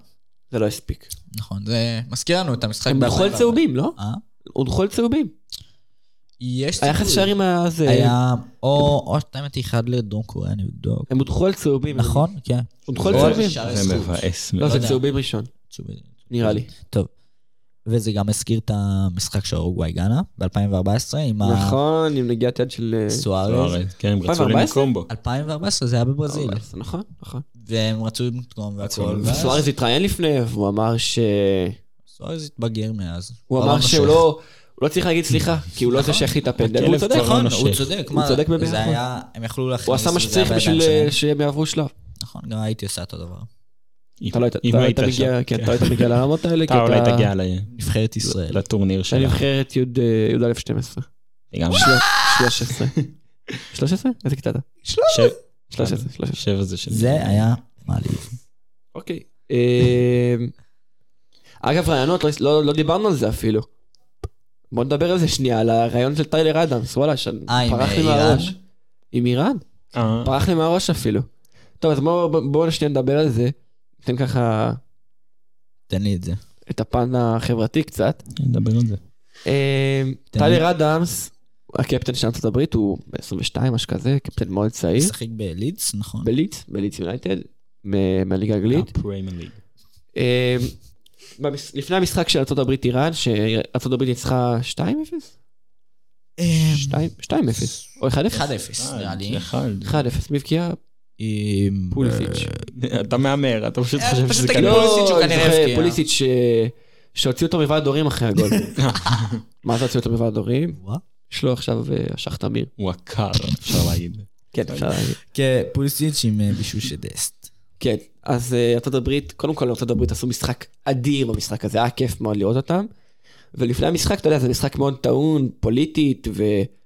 Speaker 1: זה לא הספיק.
Speaker 3: נכון, זה מזכיר לנו את המשחק.
Speaker 1: הם הונחו על
Speaker 3: ב-
Speaker 1: צהובים, לא?
Speaker 3: אה?
Speaker 1: הונחו על צהובים.
Speaker 3: יש
Speaker 1: היה לך שערים הזה...
Speaker 3: היה או או 2-1 לדרום קוריאה, אני אבדוק.
Speaker 1: הם הונחו על צהובים.
Speaker 3: נכון, כן.
Speaker 1: הונחו על
Speaker 3: זה-
Speaker 1: צהובים.
Speaker 3: זה-
Speaker 2: לא זה מבאס
Speaker 1: לא,
Speaker 2: מאוד.
Speaker 1: זה
Speaker 3: יודע.
Speaker 1: צהובים ראשון, נראה לי.
Speaker 3: טוב. וזה גם הזכיר את המשחק של אורוגוואי גאנה ב-2014, עם
Speaker 1: נכון, עם נגיעת יד של... אה,
Speaker 3: הסוארז.
Speaker 2: סוארז, כן, הם רצו
Speaker 1: 2014?
Speaker 2: למקום בו.
Speaker 3: 2014 זה היה בברזיל,
Speaker 1: אבל- נכון, נכון.
Speaker 3: והם רצו במקום והכל. ואז
Speaker 1: סוארז התראיין לפני, והוא אמר ש...
Speaker 3: סוארז התבגר מאז.
Speaker 1: הוא
Speaker 3: כבר
Speaker 1: אמר
Speaker 3: לא
Speaker 1: שהוא
Speaker 3: נושך.
Speaker 1: לא... הוא לא צריך להגיד סליחה, כי הוא לא זה שהחליט את הפנדל. הוא
Speaker 2: הכלב
Speaker 1: צודק,
Speaker 2: כבר לא
Speaker 3: נכון,
Speaker 2: נושך.
Speaker 3: הוא צודק,
Speaker 1: הוא
Speaker 3: מה,
Speaker 1: צודק במאה
Speaker 3: זה
Speaker 1: אחוז.
Speaker 3: היה, הם יכלו להכניס,
Speaker 1: הוא עשה מה
Speaker 3: וזה
Speaker 1: שצריך
Speaker 3: היה
Speaker 1: בשביל
Speaker 3: בידיים
Speaker 1: אה,
Speaker 3: שלהם.
Speaker 1: שהם יעברו שלב.
Speaker 3: נכון, גם הייתי עושה אותו דבר.
Speaker 1: אתה לא היית-
Speaker 2: אם
Speaker 1: אתה לא היית
Speaker 2: היית שם.
Speaker 1: מגיע, כן, אתה לא היית מגיע לרמות האלה, כי
Speaker 3: לא
Speaker 2: אתה אולי
Speaker 1: אתה...
Speaker 2: תגיע ל-
Speaker 1: לא,
Speaker 3: נבחרת ישראל.
Speaker 2: לטורניר
Speaker 1: אתה
Speaker 2: שלה.
Speaker 1: נבחרת יוד- אה, י"א (laughs) 12.
Speaker 2: גם
Speaker 1: 13. 13? איזה כיתה אתה?
Speaker 2: ש-
Speaker 1: 13, 13.
Speaker 2: שבע זה של...
Speaker 3: זה היה מעליב.
Speaker 1: אוקיי. אה, אגב, רעיונות, לא- לא לא דיברנו על זה אפילו. בוא נדבר על זה שנייה, על הרעיון של טיילר אדמס, וואלה, שאני-
Speaker 3: אה, עם
Speaker 1: פרח לי
Speaker 3: איראן?
Speaker 1: מהראש. עם איראן?
Speaker 2: אה,
Speaker 1: ברח לי מהראש אפילו. טוב, אז בואו בוא, בוא שנייה נדבר על זה. ניתן ככה
Speaker 3: תן לי את זה.
Speaker 1: את הפן החברתי קצת.
Speaker 2: נדבר על זה.
Speaker 1: אה,
Speaker 3: תן
Speaker 1: טיילר אדמס, הקפטן של ארצות הברית, הוא ב-22, משהו כזה, קפטן מאוד צעיר.
Speaker 3: משחק בלידס, נכון.
Speaker 1: בליץ, בליץ יונייטד, מ- מהליגה האנגלית.
Speaker 2: הפריימר ליג.
Speaker 1: אה, במש- לפני המשחק של ארצות הברית איראן, שארצות הברית ניצחה 2-0?
Speaker 3: אה,
Speaker 1: 2-0, או 1-0?
Speaker 2: אה,
Speaker 3: 1-0 נראה לי.
Speaker 1: כן.
Speaker 3: אמ, אה,
Speaker 2: אחד.
Speaker 1: 1-0, מבקיע
Speaker 3: עם
Speaker 1: פוליסיץ'.
Speaker 2: אתה מהמר, אתה פשוט
Speaker 3: אה,
Speaker 2: חושב
Speaker 3: פשוט
Speaker 2: שזה
Speaker 3: תגיד
Speaker 2: כנראה...
Speaker 3: לו. פוליסיץ' הוא
Speaker 1: אני
Speaker 3: כנראה
Speaker 1: זוכר,
Speaker 3: הבקיע.
Speaker 1: פוליסיץ' ש- שהוציאו אותו מוועד הורים אחרי
Speaker 3: (laughs)
Speaker 1: הגול. מה זה הוציאו אותו מוועד הורים?
Speaker 3: וואו.
Speaker 1: יש לו עכשיו אה, אשך תמיר.
Speaker 2: הוא עקר, אפשר להגיד.
Speaker 1: כן, אפשר להגיד.
Speaker 3: כן, פוליסיץ' עם אה, בישול של דסט.
Speaker 1: כן, אז אה, ארצות הברית, קודם כל ארצות הברית עשו משחק אדיר במשחק הזה, היה כיף מאוד לראות אותם. ולפני המשחק, אתה יודע, זה משחק מאוד טעון, פוליטית, ו...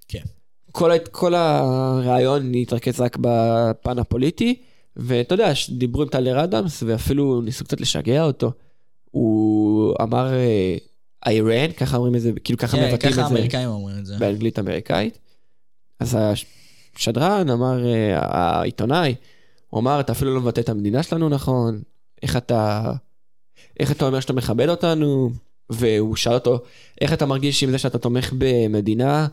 Speaker 3: כן.
Speaker 1: כל, ה- כל הרעיון התרכז רק בפן הפוליטי, ואתה יודע, ש- דיברו עם טלר אדמס, ואפילו ניסו קצת לשגע אותו. הוא אמר איירן, ככה אומרים את זה, כאילו ככה
Speaker 3: כן,
Speaker 1: מבטאים
Speaker 3: ככה
Speaker 1: את זה
Speaker 3: האמריקאים אומרים את זה.
Speaker 1: באנגלית אמריקאית. אז השדרן אמר, אה, העיתונאי, הוא אמר, אתה אפילו לא מבטא את המדינה שלנו נכון, איך אתה, איך אתה אומר שאתה מכבד אותנו? והוא שאל אותו, איך אתה מרגיש עם זה שאתה תומך במדינה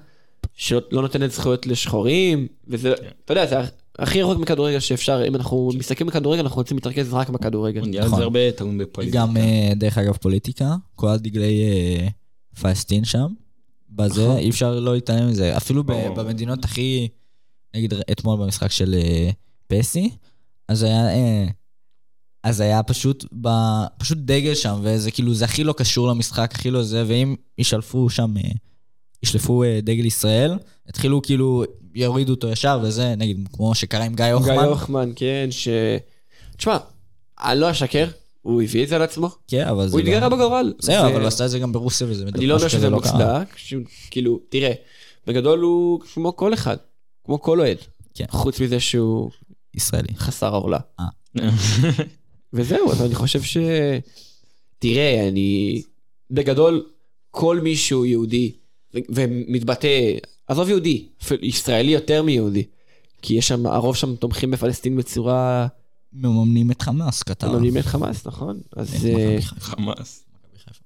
Speaker 1: שלא לא נותנת זכויות לשחורים? וזה,
Speaker 2: כן.
Speaker 1: אתה יודע, זה הכי רחוק מכדורגל שאפשר, אם אנחנו מסתכלים בכדורגל, אנחנו רוצים להתרכז רק בכדורגל.
Speaker 2: מונדיאל
Speaker 3: נכון.
Speaker 2: זה הרבה טעון בפוליטיקה.
Speaker 3: גם, אה, דרך אגב, פוליטיקה. כל הדגלי אה, פלסטין שם. בזה,
Speaker 1: נכון.
Speaker 3: אי אפשר לא להתעלם מזה. אפילו ב-
Speaker 2: ברור.
Speaker 3: במדינות הכי... נגיד ר- אתמול במשחק של אה, פסי, אז היה... אה, אז היה פשוט, ב... פשוט דגל שם, וזה כאילו, זה הכי לא קשור למשחק, הכי לא זה, ואם ישלפו שם, אה, ישלפו אה, דגל ישראל, התחילו כאילו, יורידו אותו ישר, וזה, נגיד, כמו שקרה עם גיא
Speaker 1: גיא
Speaker 3: הוחמן.
Speaker 1: הוחמן, כן, ש... תשמע, אני לא אשקר, הוא הביא את זה על עצמו,
Speaker 3: כן, אבל זה
Speaker 1: הוא התגרה בגורל.
Speaker 3: בסדר,
Speaker 1: זה-
Speaker 3: אבל לא הוא עשה את זה גם ברוסיה, וזה
Speaker 1: אני לא אומר
Speaker 3: ממש
Speaker 1: שזה
Speaker 3: לא קרה.
Speaker 1: מוצדק, שהוא- כאילו, תראה, בגדול הוא כמו כל אחד, כמו כל אוהד.
Speaker 3: כן.
Speaker 1: חוץ מזה שהוא
Speaker 3: ישראלי.
Speaker 1: חסר עורלה.
Speaker 2: אה.
Speaker 1: וזהו, אז אני חושב ש... תראה, אני... בגדול, כל מי שהוא יהודי ו- ומתבטא, עזוב יהודי, אפילו ישראלי יותר מיהודי. כי יש שם, הרוב שם תומכים בפלסטין בצורה...
Speaker 3: מממנים את חמאס, כתב.
Speaker 1: מממנים את חמאס, נכון? אז...
Speaker 3: מכבי
Speaker 1: אה,
Speaker 3: חיפה.
Speaker 2: (laughs) חמאס.
Speaker 3: מכבי חיפה.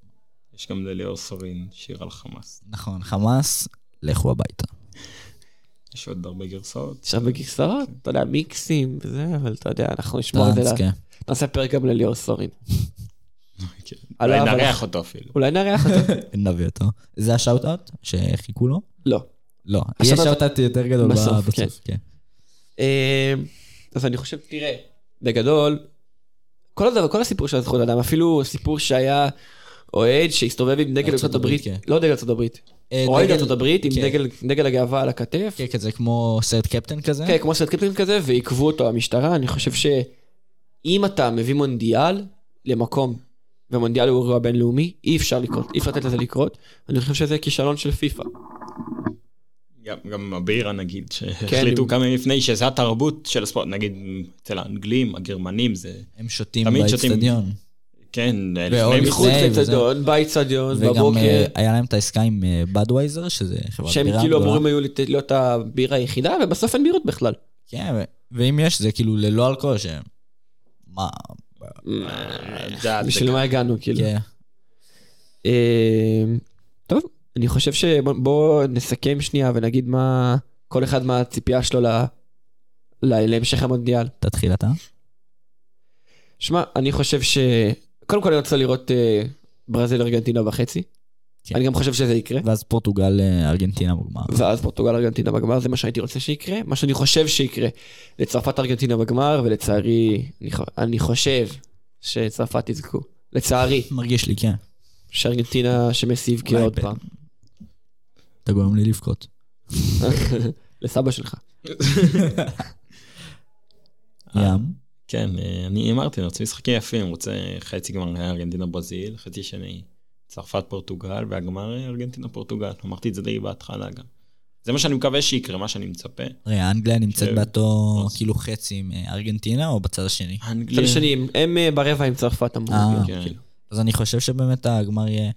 Speaker 2: יש גם לליאור סורין שיר על חמאס.
Speaker 3: נכון, חמאס, לכו הביתה.
Speaker 2: יש עוד הרבה גרסאות.
Speaker 1: יש שם בגרסאות, אתה יודע, מיקסים וזה, אבל אתה יודע, אנחנו נשמור את זה,
Speaker 3: טאנס,
Speaker 1: ל-
Speaker 3: כן.
Speaker 1: נעשה פרק גם לליאור סורין.
Speaker 2: (laughs) כן.
Speaker 1: עלה,
Speaker 2: אולי
Speaker 1: אבל-
Speaker 2: נארח אותו אפילו.
Speaker 1: אולי נארח
Speaker 3: (laughs)
Speaker 1: אותו.
Speaker 3: נביא אותו. זה השאוט-אאוט שחיכו לו?
Speaker 1: לא.
Speaker 3: לא. יש
Speaker 1: השאוט-אאוט-
Speaker 3: שאוט-אאוט יותר גדול
Speaker 1: בסוף,
Speaker 3: ב-
Speaker 1: כן.
Speaker 3: בסוף, כן.
Speaker 1: אה, אז אני חושב, תראה, בגדול, כל הדבר, כל הסיפור של הזכויות אדם, אפילו סיפור שהיה אוהד שהסתובב עם דגל
Speaker 3: ארצות
Speaker 1: ארצות
Speaker 3: הברית,
Speaker 1: הברית,
Speaker 3: כן.
Speaker 1: לא דגל ארצות הברית,
Speaker 3: אה,
Speaker 1: אוהד
Speaker 3: דגל-
Speaker 1: ארצות הברית עם
Speaker 3: כן.
Speaker 1: דגל- דגל הגאווה על הכתף,
Speaker 3: כן, כזה כמו סרט קפטן כזה.
Speaker 1: כן, כמו סרט קפטן כזה, ועיכבו אותו המשטרה. אני חושב שאם אתה מביא מונדיאל למקום, ומונדיאל הוא אירוע בינלאומי, אי אפשר לקרות, אי אפשר לתת לזה לקרות. אני חושב שזה כישלון של פיפ"א.
Speaker 2: גם, גם הבירה נגיד,
Speaker 1: כן,
Speaker 2: שהחליטו
Speaker 1: אם-
Speaker 2: כמה ימים לפני שזה התרבות של הספורט, נגיד אצל האנגלים, הגרמנים, זה,
Speaker 3: הם שותים
Speaker 2: תמיד שותים.
Speaker 3: באצטדיון.
Speaker 2: כן,
Speaker 3: ועוד
Speaker 2: לפני
Speaker 1: מחוץ
Speaker 2: מחוץ.
Speaker 3: וזה.
Speaker 1: לאצטדיון, באצטדיון,
Speaker 3: וגם
Speaker 1: בבוקר,
Speaker 3: אה, היה להם את העסקה עם בדווייזר, שזה חברת בירה.
Speaker 1: שהם כאילו
Speaker 3: גדולה.
Speaker 1: אמורים היו לתת- להיות הבירה היחידה, ובסוף אין בירות בכלל.
Speaker 3: כן, ו- ואם יש, זה כאילו ללא אלכוהול, שהם... מה?
Speaker 1: בשביל מה הגענו, כאילו.
Speaker 3: אה, כן.
Speaker 1: אה, טוב, אני חושב שבואו נסכם שנייה ונגיד מה, כל אחד מה הציפייה שלו ל- ל- להמשך המונדיאל.
Speaker 3: תתחיל אתה.
Speaker 1: שמע, אני חושב ש... קודם כל אני רוצה לראות אה, ברזיל ארגנטינה בחצי.
Speaker 3: כן.
Speaker 1: אני גם חושב שזה יקרה.
Speaker 3: ואז פורטוגל, אה, ארגנטינה בגמר.
Speaker 1: ואז פורטוגל ארגנטינה בגמר, זה מה שהייתי רוצה שיקרה. מה שאני חושב שיקרה. לצרפת ארגנטינה בגמר, ולצערי, אני, ח- אני חושב שצרפת יזכו. לצערי,
Speaker 3: מרגיש לי, כן.
Speaker 1: שארגנטינה שמסי יבקיע
Speaker 3: אולי
Speaker 1: עוד
Speaker 3: ב-
Speaker 1: פעם.
Speaker 3: אתה גורם לי
Speaker 1: (laughs)
Speaker 3: לבכות.
Speaker 1: לסבא שלך.
Speaker 3: ים.
Speaker 2: כן, אה, אני אמרתי, אני רוצה משחקים יפים, רוצה חצי גמר היה ארגנטינה ברזיל, חצי שני צרפת פורטוגל, והגמר היה ארגנטינה פורטוגל. אמרתי את זה די בהתחלה גם. זה מה שאני מקווה שיקרה, מה שאני מצפה.
Speaker 3: תראה, אנגליה נמצאת
Speaker 2: כן.
Speaker 3: באותו
Speaker 2: אז-
Speaker 3: כאילו חצי עם אה, ארגנטינה, או בצד השני?
Speaker 1: מצד
Speaker 2: האנגלים,
Speaker 1: שני, הם- הם אה, ברבע עם צרפת אמורים
Speaker 3: אה.
Speaker 1: להיות.
Speaker 2: כן.
Speaker 1: כאילו.
Speaker 3: אז אני חושב שבאמת הגמר יהיה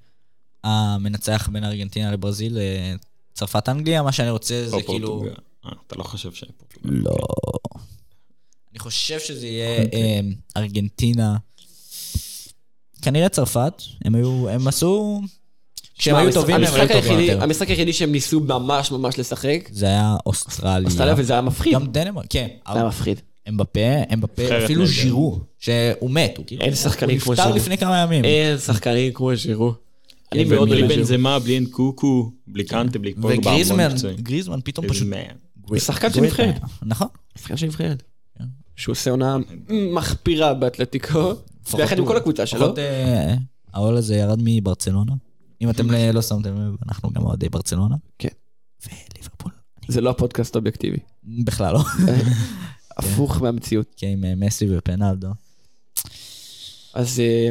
Speaker 3: המנצח בין ארגנטינה לברזיל, אה, צרפת אנגליה, מה שאני רוצה זה
Speaker 2: או
Speaker 3: כאילו...
Speaker 2: פורטוגל. אה, אתה לא חושב שהם פורטוגל.
Speaker 3: לא. אני חושב שזה יהיה
Speaker 1: אוקיי.
Speaker 3: אה, ארגנטינה. כנראה צרפת, הם היו, הם עשו... כשהם
Speaker 1: שמע,
Speaker 3: היו
Speaker 1: המש-
Speaker 3: טובים, הם היו
Speaker 1: המשחק
Speaker 3: טובים
Speaker 1: היחידי-
Speaker 3: יותר.
Speaker 1: המשחק היחידי שהם ניסו ממש ממש לשחק,
Speaker 3: זה היה אוסטרליה.
Speaker 1: אוסטרליה וזה אה, היה מפחיד.
Speaker 3: גם דנמרק, כן.
Speaker 1: זה היה מפחיד.
Speaker 3: אמבפה,
Speaker 2: אחרת
Speaker 3: אמבפה, אפילו
Speaker 2: נהדר.
Speaker 3: ז'ירו, שהוא מת, הוא כאילו...
Speaker 1: אין אה, שחקנים כמו
Speaker 3: הוא
Speaker 1: ז'ירו. אה,
Speaker 3: נפטר לפני כמה ימים.
Speaker 1: אין שחקנים כמו שירו. אני מאוד
Speaker 2: בלי
Speaker 1: אוהב
Speaker 2: בן
Speaker 1: את זה.
Speaker 2: זמה, בלי אין קוקו, בלי קנטה, בלי פוגבה, המון
Speaker 3: וגריזמן,
Speaker 2: מקצועי.
Speaker 3: גריזמן פתאום
Speaker 1: לא
Speaker 3: פשוט...
Speaker 2: גריזמן.
Speaker 3: הוא
Speaker 1: אה, שחקן של נבחרת.
Speaker 3: נכון.
Speaker 1: שחקן של נבחרת.
Speaker 2: כן.
Speaker 1: שהוא עושה עונה מחפירה באתלטיקו, ביחד עם כל הקבוצה שלו.
Speaker 3: לפחות, אה, העול הזה ירד מברצלונה. אם אתם לא- לא שמתם לב, אנחנו גם אוהדי ברצלונה.
Speaker 1: אוקיי. כן.
Speaker 3: וליברפול.
Speaker 1: זה לא הפודקאסט האובייקטיבי.
Speaker 2: כן.
Speaker 3: בכלל לא. (laughs)
Speaker 1: הפוך מהמציאות.
Speaker 3: כן, עם אה, מסי ופנלדו.
Speaker 1: אז אה,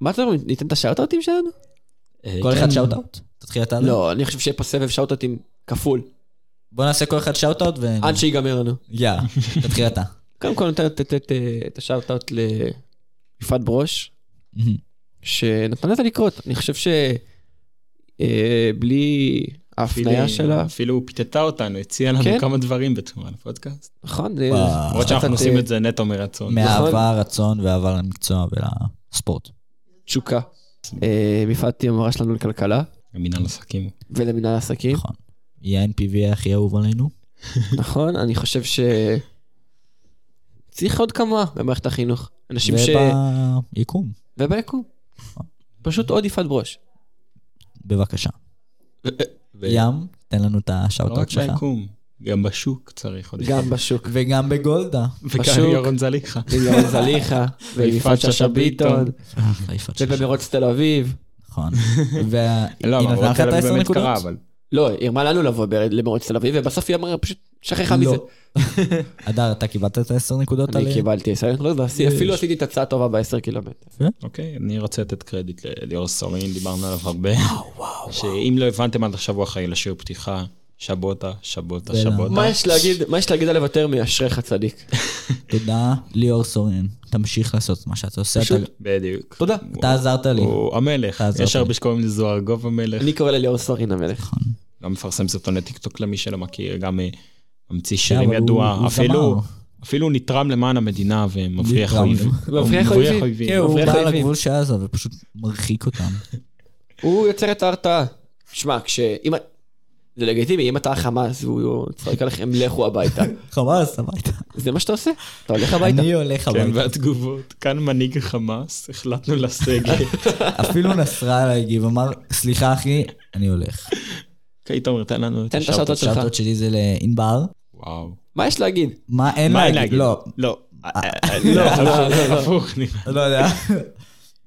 Speaker 1: מה אתה אומר, ניתן את השאוטאוטים שלנו?
Speaker 2: אה,
Speaker 3: כל
Speaker 2: כן.
Speaker 3: אחד שאוט-אאוט? תתחיל אתה. אדם.
Speaker 1: לא, אני חושב שיהיה פה סבב שאוטאוטים כפול,
Speaker 3: בוא נעשה כל אחד שאוט-אאוט ו...
Speaker 1: עד שיגמר לנו.
Speaker 3: יאללה,
Speaker 1: (laughs)
Speaker 3: תתחיל אתה.
Speaker 1: קודם כל נתן לתת את, אה, את השאוטאוט ליפעת ברוש, נכון. שנתנה לזה לקרות. אני חושב ש... אה, בלי
Speaker 2: אפילו-
Speaker 1: ההפניה שלה,
Speaker 2: אפילו הוא פיתתה אותנו, הציעה לנו
Speaker 1: כן.
Speaker 2: כמה דברים בתמורה לפודקאסט.
Speaker 1: נכון? זה-
Speaker 3: וואו.
Speaker 2: למרות שאנחנו
Speaker 1: קצת,
Speaker 2: עושים
Speaker 1: אה,
Speaker 2: את זה נטו מרצון.
Speaker 3: מאהבה, רצון ואהבה למקצוע ולספורט.
Speaker 1: תשוקה. אה, מפעל היא המורה שלנו לכלכלה
Speaker 2: מנהל עסקים.
Speaker 1: ולמנהל (laughs) עסקים,
Speaker 3: נכון. היא ה-NPV הכי אהוב עלינו.
Speaker 1: נכון? אני חושב ש... צריך עוד כמה במערכת החינוך. אנשים ש...
Speaker 3: וביקום,
Speaker 1: וביקום. פשוט עוד יפעת ברוש.
Speaker 3: בבקשה.
Speaker 2: ו-
Speaker 3: ים, תן לנו את
Speaker 2: לא רק
Speaker 3: השאוט-אאוט שלך.
Speaker 2: ביקום, גם בשוק צריך עוד.
Speaker 1: גם (laughs) בשוק.
Speaker 3: וגם בגולדה.
Speaker 2: וגם
Speaker 1: בשוק.
Speaker 2: ירון זליכה.
Speaker 1: עם ירון (laughs) זליכה, ועם יפעת שאשא ביטון,
Speaker 3: חיפת שלך.
Speaker 1: ובמרוץ תל אביב.
Speaker 2: (laughs)
Speaker 3: נכון.
Speaker 2: לא,
Speaker 3: והיא
Speaker 2: אבל
Speaker 3: נתנה
Speaker 2: רותם
Speaker 3: לך את
Speaker 2: באמת
Speaker 3: ה-10 נקודות?
Speaker 2: קרה, אבל.
Speaker 1: לא, היא הרמה לנו לבוא ב- למרוץ תל אביב, ובסוף היא אמרה, פשוט שכחה מזה.
Speaker 3: לא. (laughs) הדר, אתה קיבלת את ה-10 נקודות
Speaker 1: אני
Speaker 3: עליהם?
Speaker 1: קיבלתי עשר נקודות, ועשי- אפילו עשיתי את הצעה טובה ב-10 קילומטר.
Speaker 2: אוקיי, אני רוצה לתת קרדיט לליאור סורין, דיברנו עליו הרבה. שאם לא הבנתם עד עכשיו הוא אחראי לשיר פתיחה, שבוטה, שבוטה,
Speaker 3: ולמה?
Speaker 2: שבוטה.
Speaker 1: מה יש להגיד, מה יש להגיד עליו יותר מאשריך צדיק?
Speaker 3: תודה, ליאור סורן. תמשיך לעשות מה שאתה עושה.
Speaker 1: פשוט,
Speaker 3: אתה-
Speaker 2: בדיוק.
Speaker 1: תודה.
Speaker 3: אתה עזרת לי.
Speaker 2: הוא המלך,
Speaker 3: תעזוב
Speaker 2: יש
Speaker 3: לי.
Speaker 2: הרבה שקוראים לזה ארגוב המלך.
Speaker 1: אני קורא לליאור סורין המלך.
Speaker 3: נכון.
Speaker 2: גם לא מפרסם סרטוני טיקטוק למי שלא מכיר, גם אה, ממציא
Speaker 3: כן,
Speaker 2: שירים
Speaker 3: אבל הוא-
Speaker 2: ידוע,
Speaker 3: הוא
Speaker 2: אפילו
Speaker 3: זמר.
Speaker 2: אפילו הוא נתרם למען המדינה ומבריח
Speaker 3: נתרם. (laughs)
Speaker 2: אויבים.
Speaker 1: מבריח אויבים.
Speaker 3: כן, הוא
Speaker 1: מבריח
Speaker 3: בא
Speaker 1: אויבים.
Speaker 3: לגבול של עזה ופשוט מרחיק אותם.
Speaker 1: הוא יוצר את ההרתעה. שמע, כש... אם... זה לגיטימי, אם אתה חמאס והוא צועק עליכם, לכו הביתה.
Speaker 3: חמאס, הביתה.
Speaker 1: זה מה שאתה עושה? אתה הולך הביתה.
Speaker 3: אני הולך
Speaker 2: כן,
Speaker 3: הביתה.
Speaker 2: והתגובות, כאן מנהיג חמאס, החלטנו
Speaker 3: (laughs)
Speaker 2: לסגת.
Speaker 3: אפילו נסראללה הגיב, אמר, סליחה אחי, אני הולך.
Speaker 2: אוקיי, תומר, תן לנו את
Speaker 1: תן את
Speaker 2: השאר.
Speaker 1: השאוטות שלך.
Speaker 3: השאוטות שלי זה לענבר.
Speaker 2: וואו.
Speaker 1: מה יש להגיד?
Speaker 3: מה אין
Speaker 2: מה
Speaker 3: להגיד?
Speaker 2: להגיד?
Speaker 3: לא,
Speaker 2: לא. אה, אה, לא, הפוך, הפוך, נראה.
Speaker 3: לא יודע.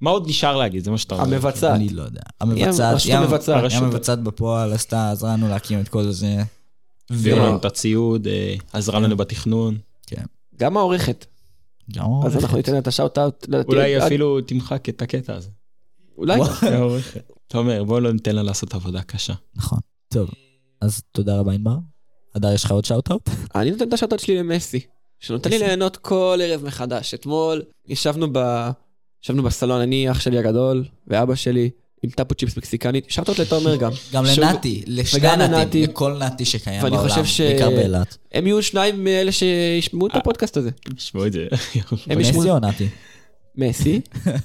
Speaker 2: מה עוד נשאר להגיד? זה מה שאתה אומר.
Speaker 1: המבצעת.
Speaker 3: אני לא יודע. המבצעת,
Speaker 1: הרשות המבצעת.
Speaker 3: היא
Speaker 1: הרשות.
Speaker 3: המבצעת בפועל עשתה, עזרה לנו להקים את כל זה.
Speaker 2: הביאו
Speaker 1: לא.
Speaker 2: לנו את הציוד, אה, עזרה לנו בתכנון.
Speaker 3: כן.
Speaker 1: גם העורכת.
Speaker 3: גם
Speaker 1: אז אנחנו
Speaker 3: העורכת.
Speaker 1: ניתן לה את השאוט-אאוט.
Speaker 3: אה,
Speaker 2: אולי אפילו תמחק את הקטע הזה. (laughs)
Speaker 1: אולי.
Speaker 2: העורכת. תומר, בוא לא ניתן לה לעשות עבודה
Speaker 3: (laughs)
Speaker 2: קשה.
Speaker 3: נכון. טוב, אז תודה רבה, ענבר. הדר, יש לך עוד שאוט-אאוט?
Speaker 1: אני נותן את השאוט-אאוט שלי למסי, שנותן לי
Speaker 3: מסי.
Speaker 1: ליהנות כל ערב מחדש. אתמול ישבנו ב... ישבנו בסלון, אני, אח שלי הגדול, ואבא שלי, עם טאפו צ'יפס מקסיקנית, שאוט-אאוט לתומר גם.
Speaker 3: גם
Speaker 1: שוב-
Speaker 3: לנתי, לשני
Speaker 1: וגם
Speaker 3: נתים,
Speaker 1: לנתי.
Speaker 3: לכל נתי שקיים
Speaker 1: ואני
Speaker 3: בעולם,
Speaker 1: חושב ש-
Speaker 3: בעיקר באילת.
Speaker 1: הם יהיו שניים מאלה שישמעו את הפודקאסט הזה.
Speaker 2: תשמעו את זה.
Speaker 1: הם ישמעו...
Speaker 3: נסי או נתי?
Speaker 1: מסי,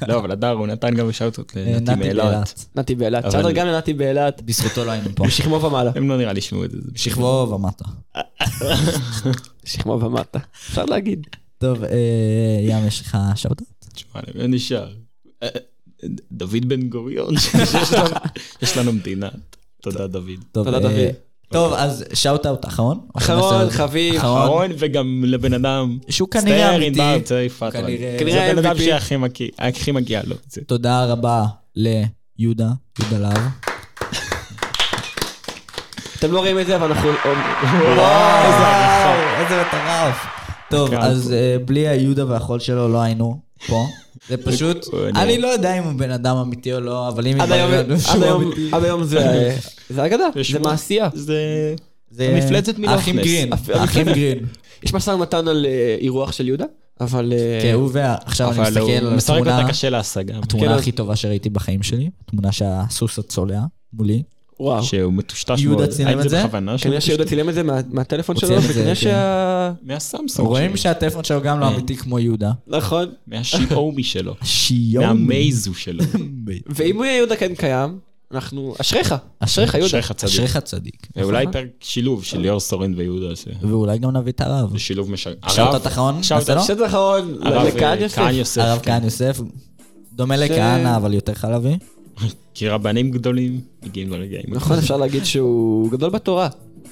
Speaker 2: לא, אבל הדר, הוא נתן גם שאוטות
Speaker 3: אה,
Speaker 2: לנתי מאילת.
Speaker 1: נתי באילת.
Speaker 2: אבל-
Speaker 1: בסדר, גם לנתי באילת,
Speaker 3: בזכותו לא היינו פה.
Speaker 1: משכמו ומעלה.
Speaker 2: הם לא נראה לי ישמעו את זה.
Speaker 3: שכבו ומטה.
Speaker 1: משכמו ומטה, אפשר להגיד.
Speaker 3: טוב, אה, ים, יש לך שאוט-אאוט?
Speaker 2: תשמע, למי נשאר? אה, דוד בן גוריון, (laughs) שיש לנו- יש לנו מדינה. תודה, דוד.
Speaker 3: טוב,
Speaker 1: תודה,
Speaker 3: אה,
Speaker 1: דוד.
Speaker 3: טוב, אז שאוט-אאוט אחרון?
Speaker 1: אחרון, חביב.
Speaker 2: אחרון וגם לבן אדם.
Speaker 3: נכון. שהוא כנראה אמיתי.
Speaker 2: ענבר, צעיר פטרן.
Speaker 3: כנראה-
Speaker 2: זה הבן אדם
Speaker 1: MVP.
Speaker 2: שהכי מכיר- הכי מגיע לו. זה-
Speaker 3: תודה רבה ליהודה, יהודה להב.
Speaker 1: אתם לא רואים את זה, אבל
Speaker 3: (laughs)
Speaker 1: אנחנו...
Speaker 3: וואו, איזה מטורף. טוב,
Speaker 1: אוקיי,
Speaker 2: הקהל
Speaker 3: אז אה, בלי היהודה והחול שלו לא היינו פה. זה
Speaker 1: (laughs)
Speaker 3: פשוט,
Speaker 2: הוא- אני-
Speaker 3: אני לא יודע אם הוא בן אדם אמיתי או לא, אבל אם
Speaker 1: אוקיי. עד היום-
Speaker 3: התברר לנו
Speaker 1: עד
Speaker 3: שהוא
Speaker 1: היום-
Speaker 3: אמיתי.
Speaker 1: עד היום
Speaker 3: (laughs)
Speaker 1: זה- זה אגדה, זה
Speaker 2: ושמו-
Speaker 3: אה.
Speaker 1: מעשייה.
Speaker 2: זה...
Speaker 3: זה
Speaker 2: המפלצת מלוכנס.
Speaker 3: האחים גרין,
Speaker 1: אפ-
Speaker 3: האחים גרין.
Speaker 1: יש משא ומתן על אה, אירוח של יהודה, אבל... אה,
Speaker 3: כן, הוא וה... עכשיו אני
Speaker 2: אבל
Speaker 3: מסתכל
Speaker 2: הוא
Speaker 3: על
Speaker 2: משחק
Speaker 3: התמונה,
Speaker 2: אותה קשה להשגה.
Speaker 3: התמונה
Speaker 1: כן,
Speaker 3: הכי טובה שראיתי בחיים שלי, התמונה שהסוס הצולע מולי.
Speaker 1: וואו.
Speaker 2: כן, שהוא מטושטש
Speaker 3: יהודה
Speaker 2: מאוד.
Speaker 3: צילם
Speaker 2: האם
Speaker 3: את זה? כן,
Speaker 2: בכוונה שהוא
Speaker 1: כנראה שיהודה
Speaker 2: מטושטש?
Speaker 1: צילם את זה מה- מהטלפון
Speaker 3: הוא
Speaker 1: שלו,
Speaker 3: צילם את זה,
Speaker 1: וכנראה
Speaker 3: כן.
Speaker 1: שה...
Speaker 2: מהסמסונג
Speaker 3: רואים
Speaker 2: שלו.
Speaker 3: שהטלפון שלו גם לא אמיתי כמו יהודה.
Speaker 1: נכון.
Speaker 2: מהשיאומי
Speaker 3: (laughs)
Speaker 2: שלו.
Speaker 3: שיומי.
Speaker 2: מהמייזו שלו.
Speaker 1: ואם יהודה כן קיים, אנחנו... אשריך, אשריך יהודה.
Speaker 2: אשריך צדיק.
Speaker 3: אשריך צדיק.
Speaker 2: ואולי אה, פרק שילוב של ליאור סורין ויהודה. ש-
Speaker 3: ואולי גם נביא את הרב.
Speaker 2: זה שילוב משגע.
Speaker 3: שאוטות אחרון? נעשה לו?
Speaker 1: שטח אחרון
Speaker 2: הרב
Speaker 1: לקהל
Speaker 2: אה,
Speaker 1: יוסף.
Speaker 2: כהן יוסף.
Speaker 3: הרב
Speaker 2: כן.
Speaker 3: כהן יוסף, דומה לכהנא, אבל יותר חלבי.
Speaker 2: כי רבנים גדולים מגיעים לרגעים.
Speaker 1: נכון, אפשר להגיד שהוא גדול בתורה.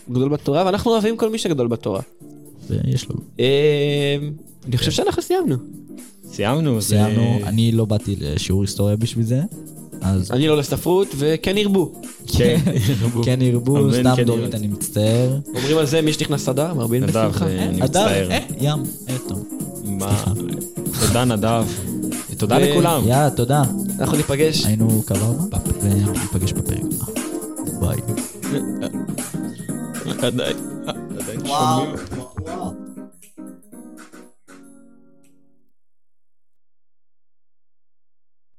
Speaker 1: הוא גדול בתורה, ואנחנו אוהבים כל מי שגדול בתורה.
Speaker 3: ויש לו.
Speaker 1: אה, אני חושב שאנחנו סיימנו.
Speaker 2: סיימנו. אה, זה-
Speaker 3: סיימנו, אני לא באתי לשיעור היסטוריה בשביל זה, אז
Speaker 1: אני לא לספרות, וכן ירבו.
Speaker 2: (laughs)
Speaker 3: (laughs)
Speaker 2: כן.
Speaker 3: כן ירבו,
Speaker 2: אמן,
Speaker 3: סתם
Speaker 2: כן
Speaker 3: דורית,
Speaker 2: ירבו.
Speaker 3: אני מצטער.
Speaker 1: אומרים על זה מי שנכנס לדר, מרבין
Speaker 2: נדב,
Speaker 1: בשמחה.
Speaker 2: אה, אני
Speaker 3: אדם,
Speaker 2: מצטער.
Speaker 3: ים, אה, טוב.
Speaker 2: מה? תודה נדב. תודה
Speaker 1: ו-
Speaker 2: לכולם.
Speaker 3: אה, יאללה, תודה.
Speaker 1: אנחנו ניפגש.
Speaker 3: היינו קבבה, וניפגש בפרק הבא. ביי.
Speaker 2: אה, עדיין- עדיין שומעים.